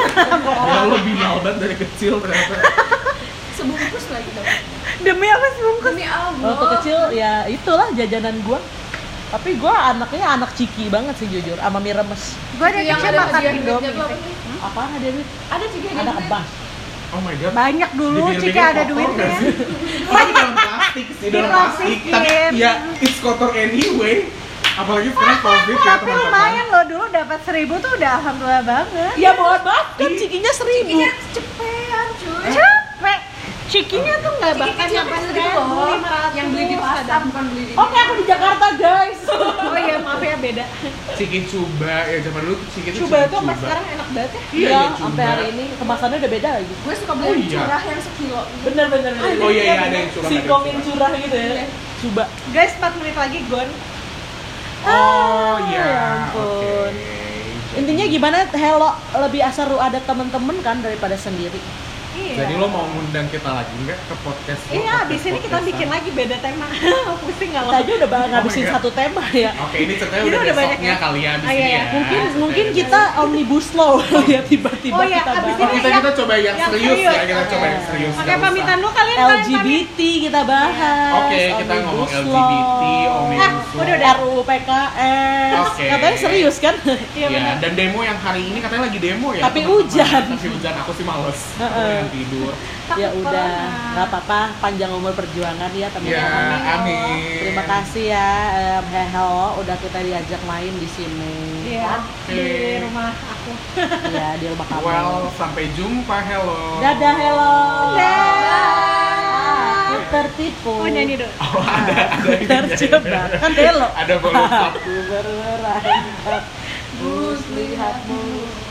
Kalau lo binal banget dari kecil ternyata. sebungkus lagi dong. demi apa sih bungkus? Demi Allah. waktu kecil ya itulah jajanan gua tapi gua anaknya anak ciki banget sih jujur sama mie remes Gue dari yang kecil ada makan hadiah duitnya tuh Indomie. apa sih? apaan ada duit Ada juga ada hadiah kebang Oh my god. Banyak dulu Dibilang jika ada kotor duitnya. nggak sih? Tapi dalam plastik sih, dalam plastik. Tapi Diplastikin. ya it's kotor anyway. Apalagi sekarang covid ya Ah, Tapi teman-teman. lumayan loh dulu dapat seribu tuh udah alhamdulillah banget. Iya banget banget, cikinya seribu Cepean Eh? cuy. Capek. Cikinya tuh nggak Ciki bahkan kecil nyampe pas gitu seribu loh, yang beli di pasar bukan beli di. Oke aku di Jakarta guys Oh iya maaf ya beda. Ciki cuba ya zaman dulu tuh ciki tuh Coba itu sampai sekarang enak banget ya. Iya, iya, Iya, cuba. sampai hari ini kemasannya udah beda lagi Gue suka Oh, beli iya. curah yang sekilo. Bener bener bener. Oh iya, iya, ada yang curah, ada yang Singkong yang curah. curah gitu ya. Coba. Guys 4 menit lagi gon. Ah, Oh iya. Ya Oke. ampun. Intinya gimana Hello lebih seru ada temen-temen kan daripada sendiri. Iya. Jadi lo mau ngundang kita lagi nggak ke podcast? lo, Iya, abis ini kita podcast-podcastan? bikin lagi beda tema. Pusing nggak Kita lo? aja udah bang- ngabisin Oh God. Oh, satu tema ya. Oke, ini ceritanya Jadi udah, udah banyak besoknya ya? kali ya abis Ah, iya, ini iya. ya. Mungkin Ceritanya mungkin udah kita omnibus law ya tiba-tiba Oh iya, kita abis Oh, bahas. ini- kita kita coba yang, Yang serius, ya, serius, kita oke. coba yang serius. Oke, nggak usah. pamitan dulu kalian kalian pamit. LGBT kita bahas. Oke, kita omnibus ngomong law. Eh, LGBT, Ah, omnibus law. udah, udah. RUU PKS. Oke. Katanya serius kan? Iya Ya, benar. dan demo yang hari ini katanya lagi demo ya. Tapi teman-teman. hujan. Tapi hujan, aku sih males. Heeh. Aku pengen tidur. ya udah, nggak apa-apa. Panjang umur perjuangan ya Ya, teman-teman. amin. Terima kasih ya, em, Heho, udah kita diajak main di sini. Iya. Di Oke. rumah aku. Ya, di rumah kamu. Well, sampai jumpa. Hello. Dadah, Hello. Dadah. Aku tertipu. Oh nyanyi dulu. Oh, ada ada ini. Terjebak. Kan Hello. Ada pelupa. Aku bermerah. Bus lihatmu.